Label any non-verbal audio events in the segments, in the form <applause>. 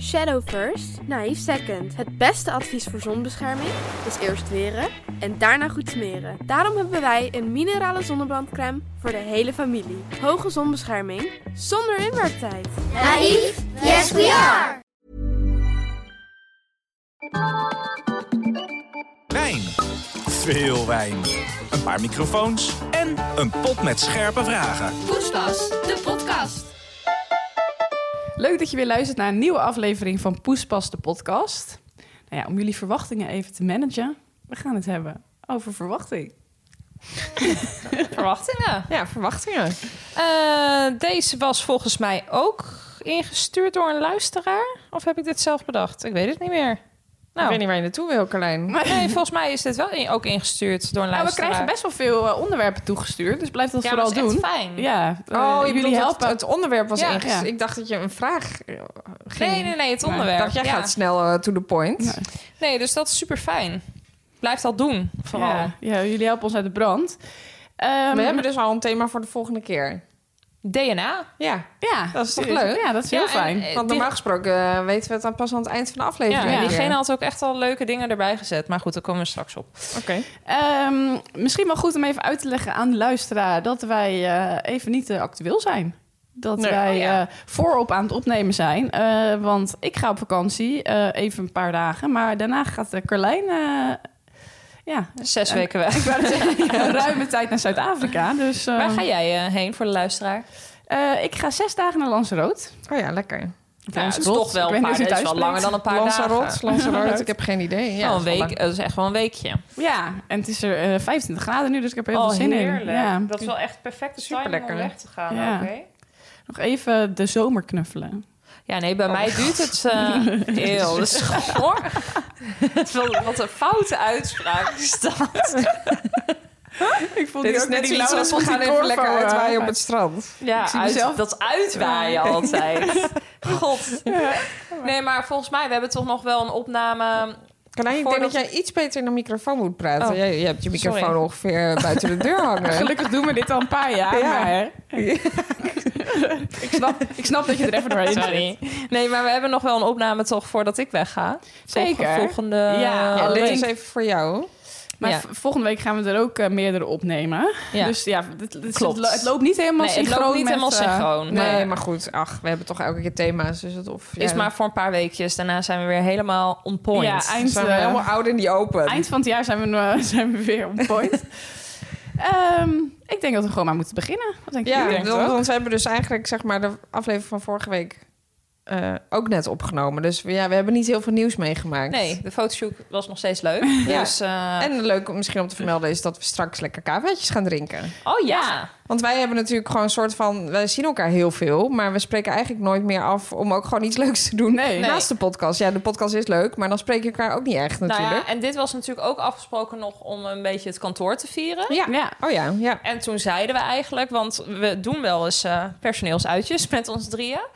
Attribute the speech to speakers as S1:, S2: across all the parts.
S1: Shadow first, naïef second. Het beste advies voor zonbescherming is eerst weren en daarna goed smeren. Daarom hebben wij een minerale zonnebrandcrème voor de hele familie. Hoge zonbescherming zonder inwerktijd.
S2: Naïef? Yes, we are!
S3: Wijn. Veel wijn. Een paar microfoons en een pot met scherpe vragen.
S4: Poespas, de podcast.
S5: Leuk dat je weer luistert naar een nieuwe aflevering van Poespas de podcast. Nou ja, om jullie verwachtingen even te managen, we gaan het hebben over verwachting. Nou,
S6: Verwachtingen. Ja, verwachtingen. Eh, deze was volgens mij ook ingestuurd door een luisteraar. Of heb ik dit zelf bedacht? Ik weet het niet meer.
S4: Ik
S6: Nou,
S4: weet niet waar je naartoe wil, Carlijn.
S6: nee, volgens mij is dit wel in- ook ingestuurd door een
S5: Nou, we
S6: luisteraar.
S5: krijgen best wel veel eh, onderwerpen toegestuurd, dus blijf dat
S6: ja, maar
S5: vooral
S6: dat is
S5: doen.
S6: Echt fijn.
S5: Ja, eh,
S4: Oh, je
S5: jullie
S4: bedoelt
S5: helpen.
S4: dat het onderwerp was
S6: Ja,
S4: inges-
S5: ja.
S4: Ik dacht dat je een vraag eh, ging.
S6: Nee, nee, nee, het
S4: Maar ik
S6: onderwerp.
S4: dacht, jij
S6: ja.
S4: gaat snel eh, to the point.
S5: Ja.
S6: Nee, dus dat is super fijn. Blijf dat doen, vooral.
S5: Ja, ja, jullie helpen ons uit de brand. Ehm,
S4: We hebben dus al een thema voor de volgende keer.
S6: DNA.
S4: Ja,
S5: ja,
S4: dat is toch
S5: serieus.
S4: leuk?
S5: Ja, dat is
S6: Ja,
S5: heel
S6: en, eh,
S5: fijn.
S4: want
S6: die-
S4: normaal gesproken eh, weten we het dan pas aan het eind van de
S6: Ja,
S4: aflevering.
S5: Ja.
S4: weer.
S6: diegene had ook echt al leuke dingen erbij gezet. Maar goed, daar komen we straks op.
S4: Oké.
S5: Ehm, misschien wel goed om even uit te leggen aan de luisteraar dat wij eh, even niet eh, actueel zijn. Dat
S4: Nee.
S5: wij
S6: Oh, ja.
S5: eh, voorop aan het opnemen zijn. Eh, want ik ga op vakantie, eh, even een paar dagen. Maar daarna gaat eh, Carlijn eh,
S6: <laughs>
S5: ja,
S6: Zes
S5: En-
S6: weken weg.
S5: ik eh, wou net zeggen, een <laughs> ruime tijd naar Zuid-Afrika. Dus eh,
S6: Waar ga jij eh, heen voor de luisteraar?
S5: eh, ik ga zes dagen naar Lanzarote.
S4: Oh ja, lekker.
S6: Ja, het is
S5: Lanzarote.
S6: toch wel
S5: Ik
S6: een
S5: weet
S6: paar
S5: niet of je
S6: dagen. Het is
S5: thuis
S6: wel langer dan
S5: bent.
S6: een paar
S4: Lanzarote,
S6: dagen.
S4: Lanzarote, ik heb geen idee. Ja,
S6: Ja,
S4: dat
S6: een
S4: is wel
S6: week,
S4: lang.
S6: dat is echt wel een weekje.
S5: Ja, en het is er eh, 25 graden nu, dus ik heb er heel veel zin in. Ja.
S6: Oh, Dat is wel echt perfecte
S4: timing Superlekker, om hè? weg
S6: te gaan.
S5: Ja. ook, Nog even de zomer knuffelen.
S6: Ja, nee, bij mij duurt <laughs> het eh, heel. Dat is <laughs> gewoon- Wat- Wat een foute uitspraak is dat.
S5: Ik vond
S4: Dit is net zoiets als we gaan even lekker
S6: eh,
S5: eh,
S4: uitwaaien op het strand.
S6: Ja,
S5: zie mezelf-
S6: dat uitwaaien altijd. <laughs> God. Nee, maar volgens mij, we hebben toch nog wel een opname.
S4: Carlijn, ik denk
S6: Voordat-
S4: dat jij iets beter in de microfoon moet praten.
S6: Oh.
S4: Jij, jij hebt je microfoon
S6: Sorry.
S4: ongeveer buiten de deur <laughs> hangen.
S5: Gelukkig doen we dit al een paar jaar.
S4: Ja.
S5: Maar, ik, snap, ik snap dat je er even doorheen
S6: Sorry.
S5: zit.
S6: Nee, maar we hebben nog wel een opname toch voordat ik wegga.
S5: Zeker.
S6: Volg- Volgende.
S5: Ja,
S4: Ja,
S5: Oh,
S4: dit
S5: leuk.
S4: is even voor jou.
S5: Maar
S6: Ja.
S5: v- volgende week gaan we er ook eh, meerdere opnemen.
S6: Ja.
S5: Dus ja, dit, dit is-
S6: Klopt.
S5: Het, lo- het loopt niet helemaal
S6: nee, het
S5: synchroon.
S6: loopt niet
S5: met,
S6: helemaal
S5: eh,
S6: synchroon.
S4: Nee, maar goed. Ach, we hebben toch elke keer thema's. Dus het of,
S6: Is
S4: ja,
S6: maar voor een paar weekjes. Daarna zijn we weer helemaal on point.
S5: Ja, eind,
S4: dan zijn we
S5: eh,
S4: helemaal oud in die open.
S5: eind van het jaar zijn we, eh, <laughs> zijn we weer on
S6: <laughs>
S5: point. Ehm, ik denk dat we gewoon maar moeten beginnen. Wat denken
S4: Ja,
S5: jullie?
S4: want- want we hebben dus eigenlijk zeg maar de aflevering van vorige week eh, ook net opgenomen. Dus we- ja, we hebben niet heel veel nieuws meegemaakt.
S6: Nee, de fotoshoot was nog steeds <laughs> leuk.
S4: Ja.
S6: Dus, eh,
S4: En leuk om misschien om te vermelden is dat we straks lekker kavaatjes gaan drinken.
S6: oh ja.
S4: Want wij hebben natuurlijk gewoon een soort van... Wij zien elkaar heel veel, maar we spreken eigenlijk nooit meer af... om ook gewoon iets leuks te doen
S5: Nee.
S4: naast de podcast. Ja, de podcast is leuk, maar dan spreek je elkaar ook niet echt
S6: Nou
S4: natuurlijk.
S6: ja, en dit was natuurlijk ook afgesproken nog om een beetje het kantoor te vieren.
S4: ja.
S5: Ja.
S4: Oh ja, ja.
S6: En toen zeiden we eigenlijk, want we doen wel eens eh, personeelsuitjes met ons drieën.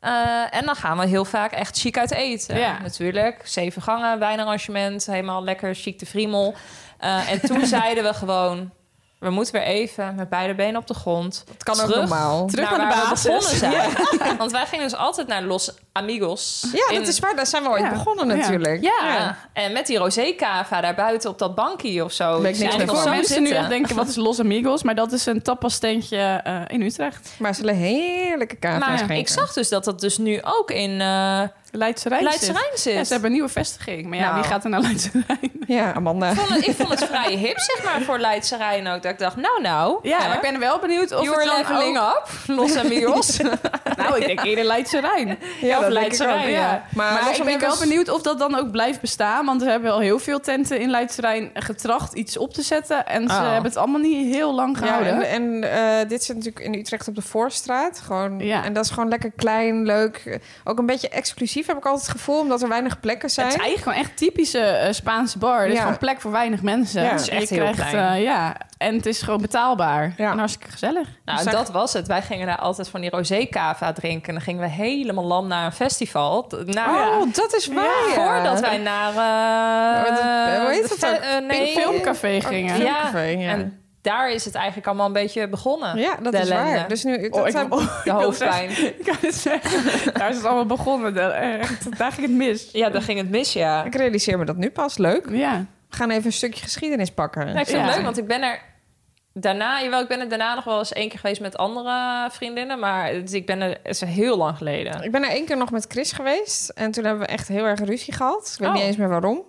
S6: Eh, en dan gaan we heel vaak echt chic uit eten.
S5: Ja.
S6: Natuurlijk, zeven gangen, wijnarrangement, helemaal lekker chic de friemel. Eh, en toen <laughs> zeiden we gewoon, we moeten weer even met beide benen op de grond.
S4: Het kan
S6: Terug.
S4: ook normaal.
S5: Terug
S6: naar
S5: naar de
S6: waar
S5: basis.
S6: We begonnen zijn. <laughs> Want wij gingen dus altijd naar Los Amigos.
S4: Ja,
S6: in-
S4: dat is waar. Daar zijn we ooit
S5: Ja.
S4: begonnen
S5: Ja.
S4: natuurlijk.
S6: Ja. en met die rosé-cava daar buiten op dat bankje of zo.
S4: Weet ik niks
S6: Zijn
S4: meer
S6: we
S4: van.
S5: Voor
S6: zo
S5: mensen nu
S6: zitten.
S5: echt denken, wat is Los Amigos? Maar dat is een tapastentje eh, in Utrecht.
S4: Maar ze zullen heerlijke kava's
S6: Maar
S4: schenken.
S6: ik zag dus dat dat dus nu ook in eh
S5: Leidse Rijn
S6: Leidse
S5: zit.
S6: Rijn zit.
S5: Ja, ze hebben een nieuwe vestiging. Maar ja,
S6: Nou.
S5: wie gaat er naar Leidse Rijn?
S4: Ja, Amanda.
S6: ik, vond het, ik vond
S5: <laughs>
S6: het vrij hip, zeg maar, voor Leidse Rijn ook. Dat ik dacht, nou nou.
S5: Ja,
S6: hè,
S5: maar ik ben er wel benieuwd of
S6: You're
S5: het dan
S6: leveling
S5: ook-
S6: up,
S5: <laughs>
S6: Los Amigos.
S5: Nou, ik
S4: <laughs>
S5: denk eerder Leidse Rijn.
S4: Ja,
S6: of
S4: dat
S6: Leidse
S4: denk ik
S6: Rijn,
S4: ook,
S6: ja.
S4: Maar,
S5: Maar
S4: Los
S5: ik ben
S4: Amigos-
S5: wel benieuwd of dat dan ook blijft bestaan. Want we hebben al heel veel tenten in Leidse Rijn getracht iets op te zetten. En ze
S6: Oh.
S5: hebben het allemaal niet heel lang
S4: Ah. Ja,
S5: gehouden.
S4: en en eh, dit zit natuurlijk in Utrecht op de Voorstraat. Gewoon,
S5: Ja.
S4: En dat is gewoon lekker klein, leuk. Ook een beetje exclusief heb ik altijd het gevoel, omdat er weinig plekken
S5: het is
S4: zijn.
S5: eigenlijk gewoon echt typische eh, Spaanse bar. Dus
S4: Ja.
S5: gewoon plek voor weinig mensen.
S4: Ja.
S5: Dus
S4: Het
S6: is echt
S5: je
S6: heel
S5: krijgt,
S6: klein.
S5: eh, ja. En het is gewoon betaalbaar.
S4: Ja.
S5: En hartstikke gezellig.
S6: nou,
S4: Zag-
S6: dat was het. Wij gingen daar altijd van die rosé-cava drinken. En dan gingen we helemaal lam naar een festival. D- Naar,
S4: Oh, dat is waar.
S6: Ja, Ah, Voordat wij naar... eh,
S4: Hoe heet
S6: de
S4: dat ook?
S6: fe- eh, nee.
S5: Een filmcafé gingen.
S6: Ja,
S4: Filmcafé, ja.
S6: en daar is het eigenlijk allemaal een beetje begonnen.
S4: Ja, dat
S6: de
S4: is
S6: ellende.
S4: waar. Dus nu, dat
S5: Oh, ik-
S4: zijn-
S5: oh,
S6: de hoofdpijn.
S5: <laughs> Ik kan het zeggen. Daar is het allemaal begonnen. Daar, echt, daar ging het mis.
S6: Ja, daar ging het mis, ja.
S4: ik realiseer me dat nu pas. Leuk.
S5: Ja.
S4: We gaan even een stukje geschiedenis pakken.
S6: Nou, ik vind het
S5: Ja.
S6: leuk, want ik ben er daarna... Jawel, ik ben er daarna nog wel eens één keer geweest met andere vriendinnen. Maar het- ik ben er... Het is heel lang geleden.
S4: Ik ben er één keer nog met Chris geweest. En toen hebben we echt heel erg ruzie gehad. Ik weet
S6: Oh.
S4: niet eens meer waarom.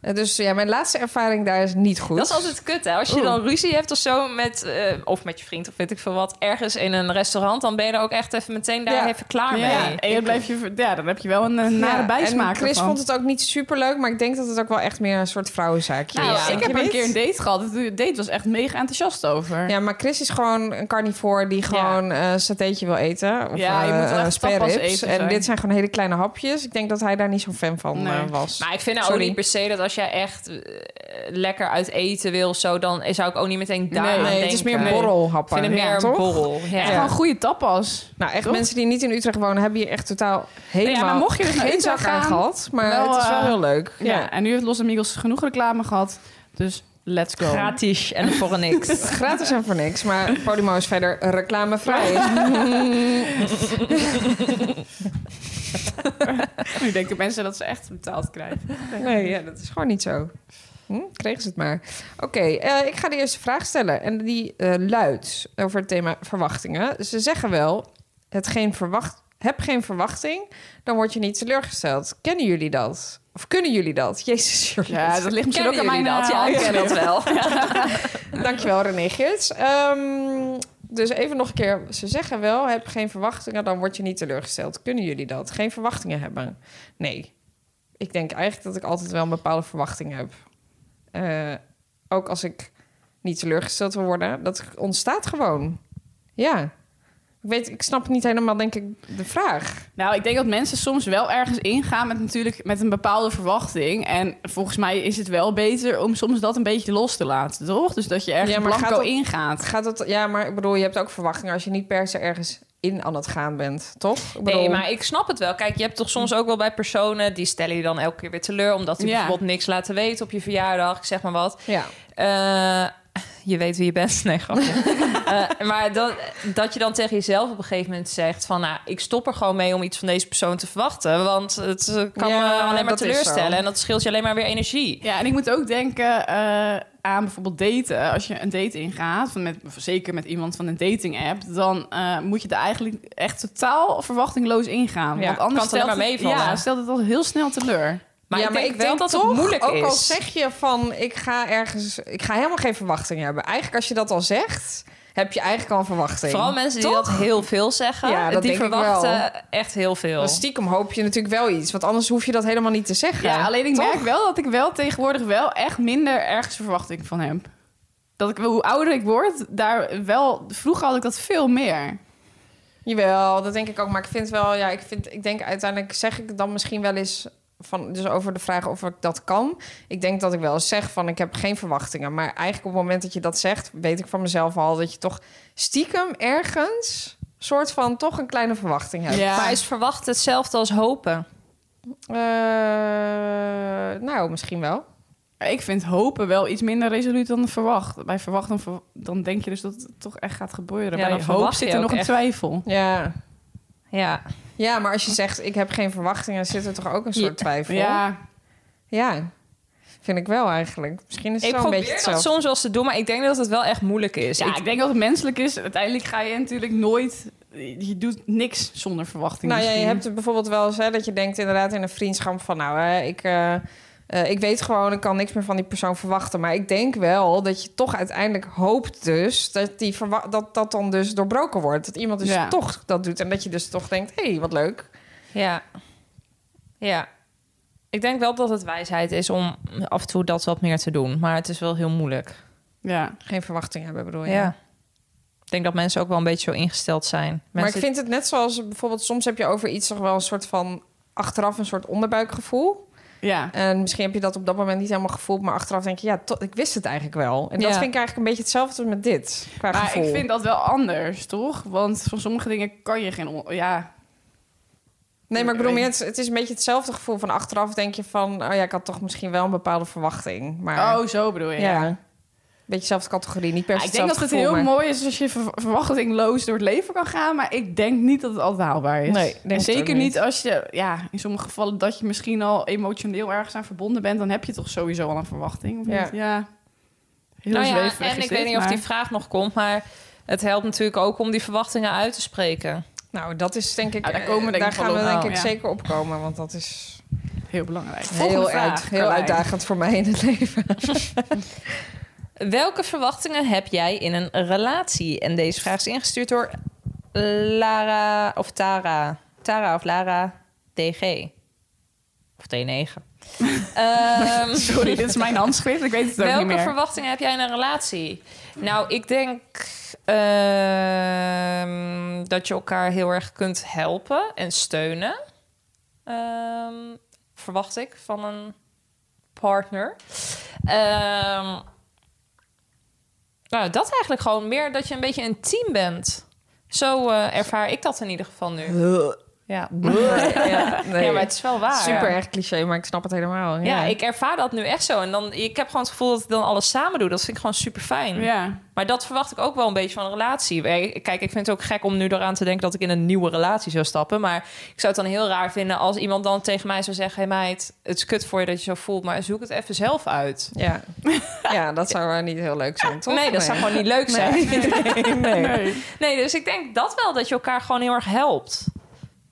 S4: Eh, Dus ja, mijn laatste ervaring daar is niet goed.
S6: Dat is altijd kut, hè? Als je
S4: Oeh.
S6: dan ruzie hebt of zo met... eh, of met je vriend of weet ik veel wat... ergens in een restaurant... dan ben je er ook echt even meteen daar
S4: Ja.
S6: even klaar mee.
S5: Ja, en dan, blijf je, ver- ja, dan heb je wel een, eh,
S4: Ja,
S5: nare bijsmaak
S4: En Chris
S5: ervan.
S4: vond het ook niet super leuk, maar ik denk dat het ook wel echt meer een soort vrouwenzaakje
S6: Nou,
S4: is.
S6: ja,
S4: Denk
S5: ik
S4: je
S5: heb er een
S4: niet?
S5: keer een date gehad. De date was echt mega enthousiast over.
S4: Ja, maar Chris is gewoon een carnivoor die gewoon eh een satéetje wil eten. Of,
S5: Ja, je moet wel
S4: eh,
S5: echt
S4: spare
S5: tapas
S4: ribs.
S5: eten
S4: En
S5: zijn.
S4: dit zijn gewoon hele kleine hapjes. Ik denk dat hij daar niet zo'n fan van
S5: Nee.
S4: eh, was.
S6: Maar ik vind nou ook
S4: Sorry.
S6: niet per se dat als jij echt eh, lekker uit eten wil... of zo, dan zou ik ook niet meteen daar
S5: Nee,
S6: aan
S5: nee,
S4: het is
S6: denken.
S4: meer borrelhappen.
S6: Ik vind het
S4: Ja,
S6: meer een
S4: toch?
S6: borrel. Ja.
S5: Echt wel een goede tapas.
S4: Nou, echt
S5: Toch?
S4: mensen die niet in Utrecht wonen hebben hier echt totaal helemaal
S5: Nou maar mocht je dus naar
S4: geen
S5: Utrecht
S4: zak aan
S5: gaan,
S4: gehad. Maar
S5: wel,
S4: het is wel
S5: eh,
S4: heel leuk.
S5: Ja. en nu heeft Los Amigos genoeg reclame gehad. Dus let's go.
S6: Gratis en voor <laughs> niks.
S4: Gratis en voor niks, maar Podimo is verder reclamevrij.
S5: <laughs> <laughs> Nu denken mensen dat ze echt betaald krijgen.
S4: <laughs> Nee, ja, dat is gewoon niet zo. Hm? Kregen ze het maar. Oké, eh, ik ga de eerste vraag stellen. En die eh, luidt over het thema verwachtingen. Ze zeggen wel, het geen verwacht, heb geen verwachting, dan word je niet teleurgesteld. Kennen jullie dat? Of kunnen jullie dat? Jezus, Charlotte.
S5: Ja, dat ligt misschien ook aan mijn
S6: dat?
S5: eh,
S6: Ja, ik ken dat
S5: handschrift. <laughs>
S6: wel.
S4: Dankjewel, René Geerts. Ehm, dus even nog een keer. Ze zeggen wel, heb geen verwachtingen, dan word je niet teleurgesteld. Kunnen jullie dat? Geen verwachtingen hebben? Nee. Ik denk eigenlijk dat ik altijd wel een bepaalde verwachting heb. Eh, ook als ik niet teleurgesteld wil worden. Dat ontstaat gewoon. Ja. Ik, weet, ik snap niet helemaal, denk ik, de vraag.
S5: Nou, ik denk dat mensen soms wel ergens ingaan met natuurlijk met een bepaalde verwachting. En volgens mij is het wel beter om soms dat een beetje los te laten, toch? Dus dat je ergens
S4: Ja, maar
S5: blanco
S4: gaat dat-
S5: ingaat.
S4: Gaat dat, ja, maar ik bedoel, je hebt ook verwachtingen als je niet per se ergens in aan het gaan bent, toch? Ik bedoel,
S6: Nee, maar ik snap het wel. Kijk, je hebt toch soms ook wel bij personen... die stellen je dan elke keer weer teleur... omdat die
S5: Ja.
S6: bijvoorbeeld niks laten weten op je verjaardag. Ik zeg maar wat.
S4: Ja.
S6: Eh, je weet wie je bent. <laughs> Nee, grapje.
S4: <laughs>
S6: Eh, maar dat, dat je dan tegen jezelf op een gegeven moment zegt... van nou, ik stop er gewoon mee om iets van deze persoon te verwachten. Want het eh, kan
S4: Ja,
S6: me alleen maar
S4: dat is
S6: teleurstellen.
S4: zo.
S6: En dat scheelt je alleen maar weer energie.
S5: Ja, en ik moet ook denken eh, aan bijvoorbeeld daten. Als je een date ingaat, van met, zeker met iemand van een dating app, dan eh, moet je er eigenlijk echt totaal verwachtingloos ingaan.
S4: Ja,
S5: Want anders
S6: kan het alleen
S5: stelt
S6: maar meevallen.
S5: Ja, stelt het al heel snel teleur.
S6: Maar
S4: ja,
S6: ik
S4: maar
S6: denk
S4: ik
S6: wel
S4: denk
S6: dat
S4: toch,
S6: het moeilijk
S4: ook
S6: is.
S4: al zeg je van ik ga ergens, ik ga helemaal geen verwachting hebben. Eigenlijk als je dat al zegt, heb je eigenlijk al een verwachting.
S6: Vooral mensen die
S4: Toch?
S6: dat heel veel zeggen.
S4: Ja, dat
S6: die
S4: denk ik
S6: verwachten
S4: wel.
S6: echt heel veel.
S4: Dan stiekem hoop je natuurlijk wel iets, want anders hoef je dat helemaal niet te zeggen.
S5: Ja, alleen ik
S4: Toch?
S5: merk wel dat ik wel tegenwoordig wel echt minder ergens verwachting van heb. Dat ik, hoe ouder ik word, daar wel... Vroeger had ik dat veel meer.
S4: Jawel, dat denk ik ook. Maar ik vind wel, ja, ik, vind, ik denk uiteindelijk zeg ik dan misschien wel eens van, dus over de vraag of ik dat kan. Ik denk dat ik wel eens zeg van ik heb geen verwachtingen. Maar eigenlijk op het moment dat je dat zegt, weet ik van mezelf al dat je toch stiekem ergens soort van toch een kleine verwachting hebt.
S5: Ja.
S6: Maar is verwachten hetzelfde als hopen?
S4: Eh, nou, misschien wel.
S5: Ik vind hopen wel iets minder resoluut dan verwacht. Bij verwacht, dan, ver- dan denk je dus dat het toch echt gaat gebeuren.
S6: Ja, dan
S5: Bij hoop
S6: verwacht je
S5: zit er
S6: ook
S5: nog een
S6: echt.
S5: twijfel.
S4: Ja.
S6: Ja.
S4: ja, maar als je zegt ik heb geen verwachtingen, zit er toch ook een soort twijfel?
S5: Ja,
S4: Ja. Vind ik wel eigenlijk. Misschien is het
S6: Ik
S4: wel een
S6: probeer
S4: beetje
S6: dat
S4: hetzelfde.
S6: soms wel eens te doen, maar ik denk dat het wel echt moeilijk
S4: Dus
S6: is.
S5: ja,
S6: Ik-
S5: ik denk dat het menselijk is. Uiteindelijk ga je natuurlijk nooit... Je doet niks zonder verwachting.
S4: Nou ja, je
S5: misschien.
S4: hebt het bijvoorbeeld wel eens hè, dat je denkt inderdaad in een vriendschap van nou, hè, ik, eh, eh, ik weet gewoon, ik kan niks meer van die persoon verwachten. Maar ik denk wel dat je toch uiteindelijk hoopt dus dat die verwa- dat, dat dan dus doorbroken wordt. Dat iemand dus
S5: Ja.
S4: toch dat doet en dat je dus toch denkt, hé, hey, wat leuk.
S6: ja. Ja. Ik denk wel dat het wijsheid is om af en toe dat wat meer te doen. Maar het is wel heel moeilijk.
S5: Ja.
S4: Geen verwachting hebben bedoel je.
S6: Ja. Ik denk dat mensen ook wel een beetje zo ingesteld zijn.
S4: Maar ik
S6: Mensen-
S4: vind het net zoals bijvoorbeeld soms heb je over iets toch wel een soort van achteraf een soort onderbuikgevoel.
S5: ja.
S4: En misschien heb je dat op dat moment niet helemaal gevoeld, maar achteraf denk je ja, to- ik wist het eigenlijk wel. En dat
S6: Ja.
S4: vind ik eigenlijk een beetje hetzelfde met dit qua
S5: Maar
S4: gevoel.
S5: ik vind dat wel anders, toch? Want van sommige dingen kan je geen... on- Ja,
S4: Nee, maar ik bedoel
S5: Ik
S4: meer,
S5: weet
S4: het, het is een beetje hetzelfde gevoel van achteraf denk je van, oh ja, ik had toch misschien wel een bepaalde verwachting. Maar
S5: oh, zo bedoel je.
S4: ja. beetje zelfde categorie, niet per se
S5: ik denk dat het heel mooi is als je ver- verwachtingloos door het leven kan gaan. Maar ik denk niet dat het altijd haalbaar is.
S4: Nee, ik denk
S5: en
S4: het ook
S5: zeker
S4: niet.
S5: niet als je, ja, in sommige gevallen dat je misschien al emotioneel ergens aan verbonden bent. Dan heb je toch sowieso al een verwachting.
S4: Ja.
S5: Ja. ja. Heel
S6: nou ja,
S5: zweverig
S6: en
S5: is
S6: ik
S5: dit,
S6: weet niet of
S5: maar-
S6: die vraag nog komt, maar het helpt natuurlijk ook om die verwachtingen uit te spreken.
S4: Nou, dat is denk ik...
S5: Nou, daar komen we denk
S4: daar
S5: ik
S4: gaan
S5: wel
S4: we
S5: op.
S4: denk
S5: Oh,
S4: ik
S5: ja.
S4: zeker op komen, want dat is
S5: Heel belangrijk. Volgende
S4: heel,
S5: vraag,
S4: uit, heel
S5: Carlijn.
S4: uitdagend voor mij in het
S5: <laughs>
S4: leven.
S6: Welke verwachtingen heb jij in een relatie? En deze vraag is ingestuurd door Lara of Tara. Tara of Lara DG. Of T9.
S5: <laughs>
S6: Ehm,
S5: Sorry, dit is mijn handschrift. Ik weet het ook
S6: Welke
S5: niet meer.
S6: verwachtingen heb jij in een relatie? Nou, ik denk ehm, dat je elkaar heel erg kunt helpen en steunen. Ehm, verwacht ik van een partner. Ehm, nou, dat eigenlijk gewoon meer dat je een beetje een team bent. Zo eh, ervaar ik dat in ieder geval nu. Ja, ja.
S4: Nee.
S6: ja maar het is wel waar.
S4: Super erg cliché, maar ik snap het helemaal. Ja,
S6: Ja, ik ervaar dat nu echt zo. En dan, ik heb gewoon het gevoel dat ik dan alles samen doe. Dat vind ik gewoon super fijn.
S5: Ja.
S6: Maar dat verwacht ik ook wel een beetje van een relatie. Wij- Kijk, ik vind het ook gek om nu eraan te denken dat ik in een nieuwe relatie zou stappen. Maar ik zou het dan heel raar vinden als iemand dan tegen mij zou zeggen: Hé hey meid, het is kut voor je dat je zo voelt, maar zoek het even zelf uit. <laughs>
S4: Ja. ja, dat zou eh, niet heel leuk zijn, toch?
S6: nee, dat zou gewoon niet leuk zijn.
S4: Nee.
S6: Nee.
S4: <laughs> Nee.
S5: Nee.
S6: dus ik denk dat wel dat je elkaar gewoon heel erg helpt.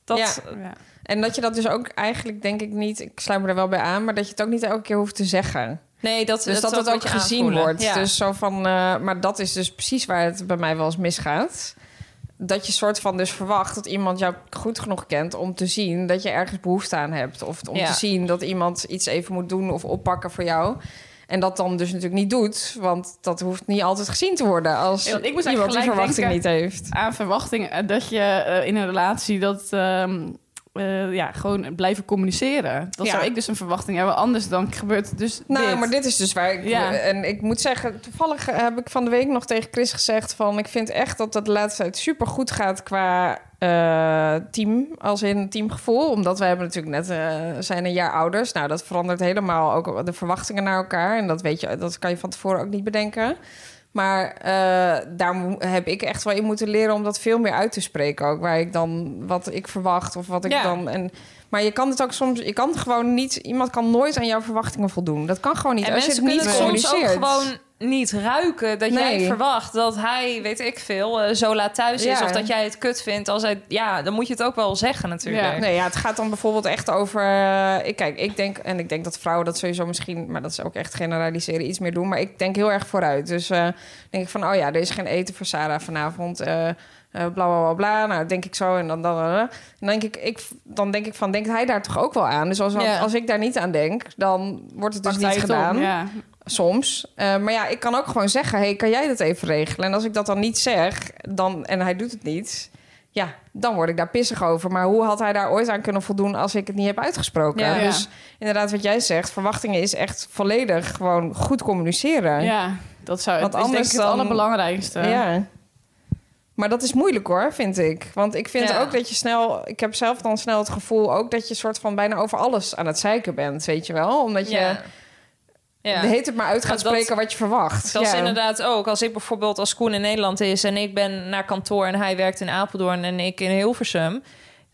S6: Dat,
S4: Ja.
S5: Ja.
S4: En dat je dat dus ook eigenlijk, denk ik niet... Ik sluit me er wel bij aan, maar dat je het ook niet elke keer hoeft te zeggen.
S6: Nee, dat,
S4: Dus dat
S6: is
S4: het ook
S6: wat je
S4: gezien
S6: aanvoelen.
S4: wordt.
S6: Ja.
S4: Dus zo van, eh, maar dat is dus precies waar het bij mij wel eens misgaat. Dat je soort van dus verwacht dat iemand jou goed genoeg kent om te zien dat je ergens behoefte aan hebt. Of om
S6: Ja.
S4: te zien dat iemand iets even moet doen of oppakken voor jou. En dat dan dus natuurlijk niet doet, want dat hoeft niet altijd gezien te worden als
S5: Ja, want ik moest
S4: iemand die
S5: eigenlijk gelijk
S4: verwachting niet
S5: denken-
S4: heeft.
S5: aan verwachtingen. eh, Dat je eh, in een relatie dat... ehm, eh, ja, gewoon blijven communiceren. Dat
S4: Ja.
S5: zou ik dus een verwachting hebben. Anders dan gebeurt dus
S4: Nou,
S5: dit.
S4: maar dit is dus waar ik...
S5: Ja.
S4: En ik moet zeggen, toevallig eh, heb ik van de week nog tegen Chris gezegd... van ik vind echt dat dat de laatste tijd super goed gaat qua eh, team. Als in teamgevoel. Omdat we hebben natuurlijk net eh, zijn een jaar ouders. Nou, dat verandert helemaal ook de verwachtingen naar elkaar. En dat weet je, dat kan je van tevoren ook niet bedenken. Maar eh, daar mo- heb ik echt wel in moeten leren om dat veel meer uit te spreken. Ook waar ik dan wat ik verwacht of wat ik
S6: Ja.
S4: dan. En, maar je kan het ook soms. Je kan gewoon niet. Iemand kan nooit aan jouw verwachtingen voldoen. Dat kan gewoon niet.
S6: En
S4: als je
S6: mensen
S4: het
S6: kunnen
S4: niet
S6: het soms ook
S4: communiceert.
S6: gewoon niet ruiken dat jij
S4: Nee.
S6: verwacht dat hij, weet ik veel, eh, zo laat thuis is
S4: Ja.
S6: of dat jij het kut vindt. Als hij, ja, dan moet je het ook wel zeggen natuurlijk.
S5: Ja.
S4: Nee, ja, het gaat dan bijvoorbeeld echt over. eh, ik kijk, ik denk en ik denk dat vrouwen dat sowieso misschien, maar dat is ook echt generaliseren iets meer doen. Maar ik denk heel erg vooruit. Dus eh, denk ik van, oh ja, er is geen eten voor Sarah vanavond. eh eh, bla bla bla bla. Nou, denk ik zo en dan dan. dan, dan. En dan denk ik, ik, dan denk ik van, denkt hij daar toch ook wel aan? Dus als,
S6: Ja.
S4: als ik daar niet aan denk, dan wordt het dus
S5: Pakt hij
S4: niet
S5: het om,
S4: gedaan.
S5: Ja.
S4: Soms. Eh, maar ja, ik kan ook gewoon zeggen: hey, kan jij dat even regelen? En als ik dat dan niet zeg dan, en hij doet het niet, ja, dan word ik daar pissig over. Maar hoe had hij daar ooit aan kunnen voldoen als ik het niet heb uitgesproken?
S6: Ja.
S4: Dus inderdaad, wat jij zegt, verwachtingen is echt volledig gewoon goed communiceren.
S5: ja, dat zou
S4: Want
S5: het is denk
S4: anders
S5: ik het
S4: dan-
S5: allerbelangrijkste.
S4: Ja. Maar dat is moeilijk hoor, vind ik. Want ik vind
S6: Ja.
S4: ook dat je snel... Ik heb zelf dan snel het gevoel ook dat je soort van bijna over alles aan het zeiken bent, weet je wel? Omdat je
S6: Ja. Ja.
S4: de heet het maar uit
S6: Want
S4: gaat
S6: dat-
S4: spreken wat je verwacht.
S6: Dat is
S4: Ja.
S6: inderdaad ook. Als ik bijvoorbeeld als Koen in Nederland is en ik ben naar kantoor en hij werkt in Apeldoorn en ik in Hilversum,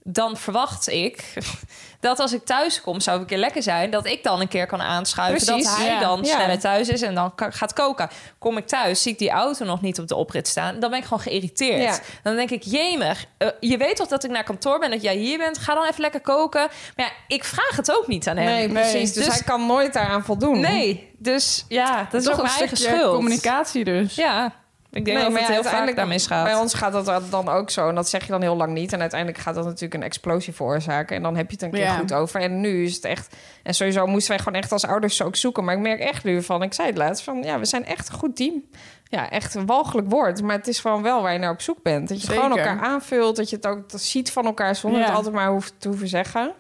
S6: dan verwacht ik <laughs> dat als ik thuis kom, zou ik een keer lekker zijn, dat ik dan een keer kan aanschuiven.
S4: Precies,
S6: dat hij
S5: ja.
S6: dan
S4: Ja.
S6: sneller thuis is en dan ka- gaat koken. Kom ik thuis, zie ik die auto nog niet op de oprit staan, dan ben ik gewoon geïrriteerd.
S4: Ja.
S6: Dan denk ik, jemig, eh, je weet toch dat ik naar kantoor ben, dat jij hier bent, ga dan even lekker koken. Maar ja, ik vraag het ook niet aan hem.
S4: Nee,
S5: Nee.
S4: precies. Dus,
S6: Dus-
S4: hij kan nooit daaraan voldoen.
S6: Nee, dus ja, dat is
S5: Toch
S6: ook
S5: een
S6: mijn eigen
S5: stukje
S6: schuld.
S5: communicatie dus.
S6: Ja, ik denk
S4: Nee,
S6: dat het
S4: ja,
S6: heel vaak
S4: uiteindelijk-
S6: daar misgaat.
S4: Bij ons gaat dat dan ook zo. En dat zeg je dan heel lang niet. En uiteindelijk gaat dat natuurlijk een explosie veroorzaken. En dan heb je het een keer
S5: Ja.
S4: goed over. En nu is het echt... En sowieso moesten wij gewoon echt als ouders ook zoeken. Maar ik merk echt nu van... Ik zei het laatst van... Ja, we zijn echt een goed team. Ja, echt een walgelijk woord. Maar het is gewoon wel waar je naar op zoek bent. Dat je
S5: Zeker.
S4: gewoon elkaar aanvult. Dat je het ook dat ziet van elkaar zonder
S5: Ja.
S4: het altijd maar hoeft te hoeven zeggen.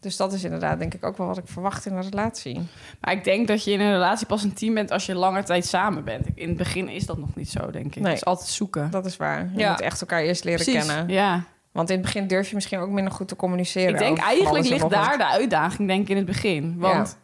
S4: Dus dat is inderdaad denk ik ook wel wat ik verwacht in een relatie.
S5: Maar ik denk dat je in een relatie pas een team bent als je langer tijd samen bent. In het begin is dat nog niet zo, denk ik.
S4: Nee.
S5: Het is altijd zoeken.
S4: Dat is waar. Je
S6: Ja.
S4: moet echt elkaar eerst leren
S5: Precies,
S4: kennen.
S5: Ja.
S4: Want in het begin durf je misschien ook minder goed te communiceren.
S5: Ik denk
S4: over
S5: eigenlijk
S4: alles en
S5: ligt
S4: nog wat.
S5: daar de uitdaging, denk ik, in het begin. Want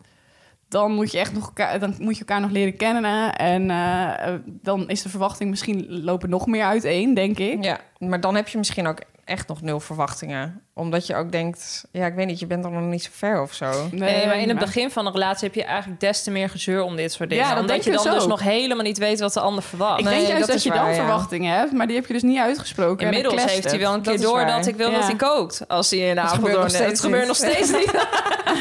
S5: dan moet je echt nog elkaar, dan moet je elkaar nog leren kennen. En eh, eh, dan is de verwachting misschien lopen nog meer uiteen, denk ik.
S4: Ja, maar dan heb je misschien ook echt nog nul verwachtingen. Omdat je ook denkt, ja, ik weet niet, je bent er nog niet zo ver of zo.
S6: Nee, maar in het begin van de relatie heb je eigenlijk des te meer gezeur om dit soort dingen.
S5: Ja, dat
S6: Omdat
S5: denk
S6: je
S5: ik
S6: dan
S5: dus
S6: dus
S5: ook.
S6: nog helemaal niet weet wat de ander verwacht.
S5: Ik
S4: Nee,
S5: denk juist
S4: dat
S5: dat,
S4: is
S5: je
S4: waar,
S5: dan
S4: ja.
S5: verwachtingen hebt, maar die heb je dus niet uitgesproken. en dan
S6: Inmiddels
S5: clasht
S6: heeft hij
S5: het.
S6: wel een
S4: Dat
S6: keer
S4: is
S6: door
S4: waar.
S6: dat ik wil
S5: Ja.
S6: dat hij kookt. Als hij in de
S4: Dat gebeurt
S6: Apeldoorn...
S4: nog steeds
S6: Het gebeurt
S4: niet.
S6: nog steeds niet.
S5: <laughs>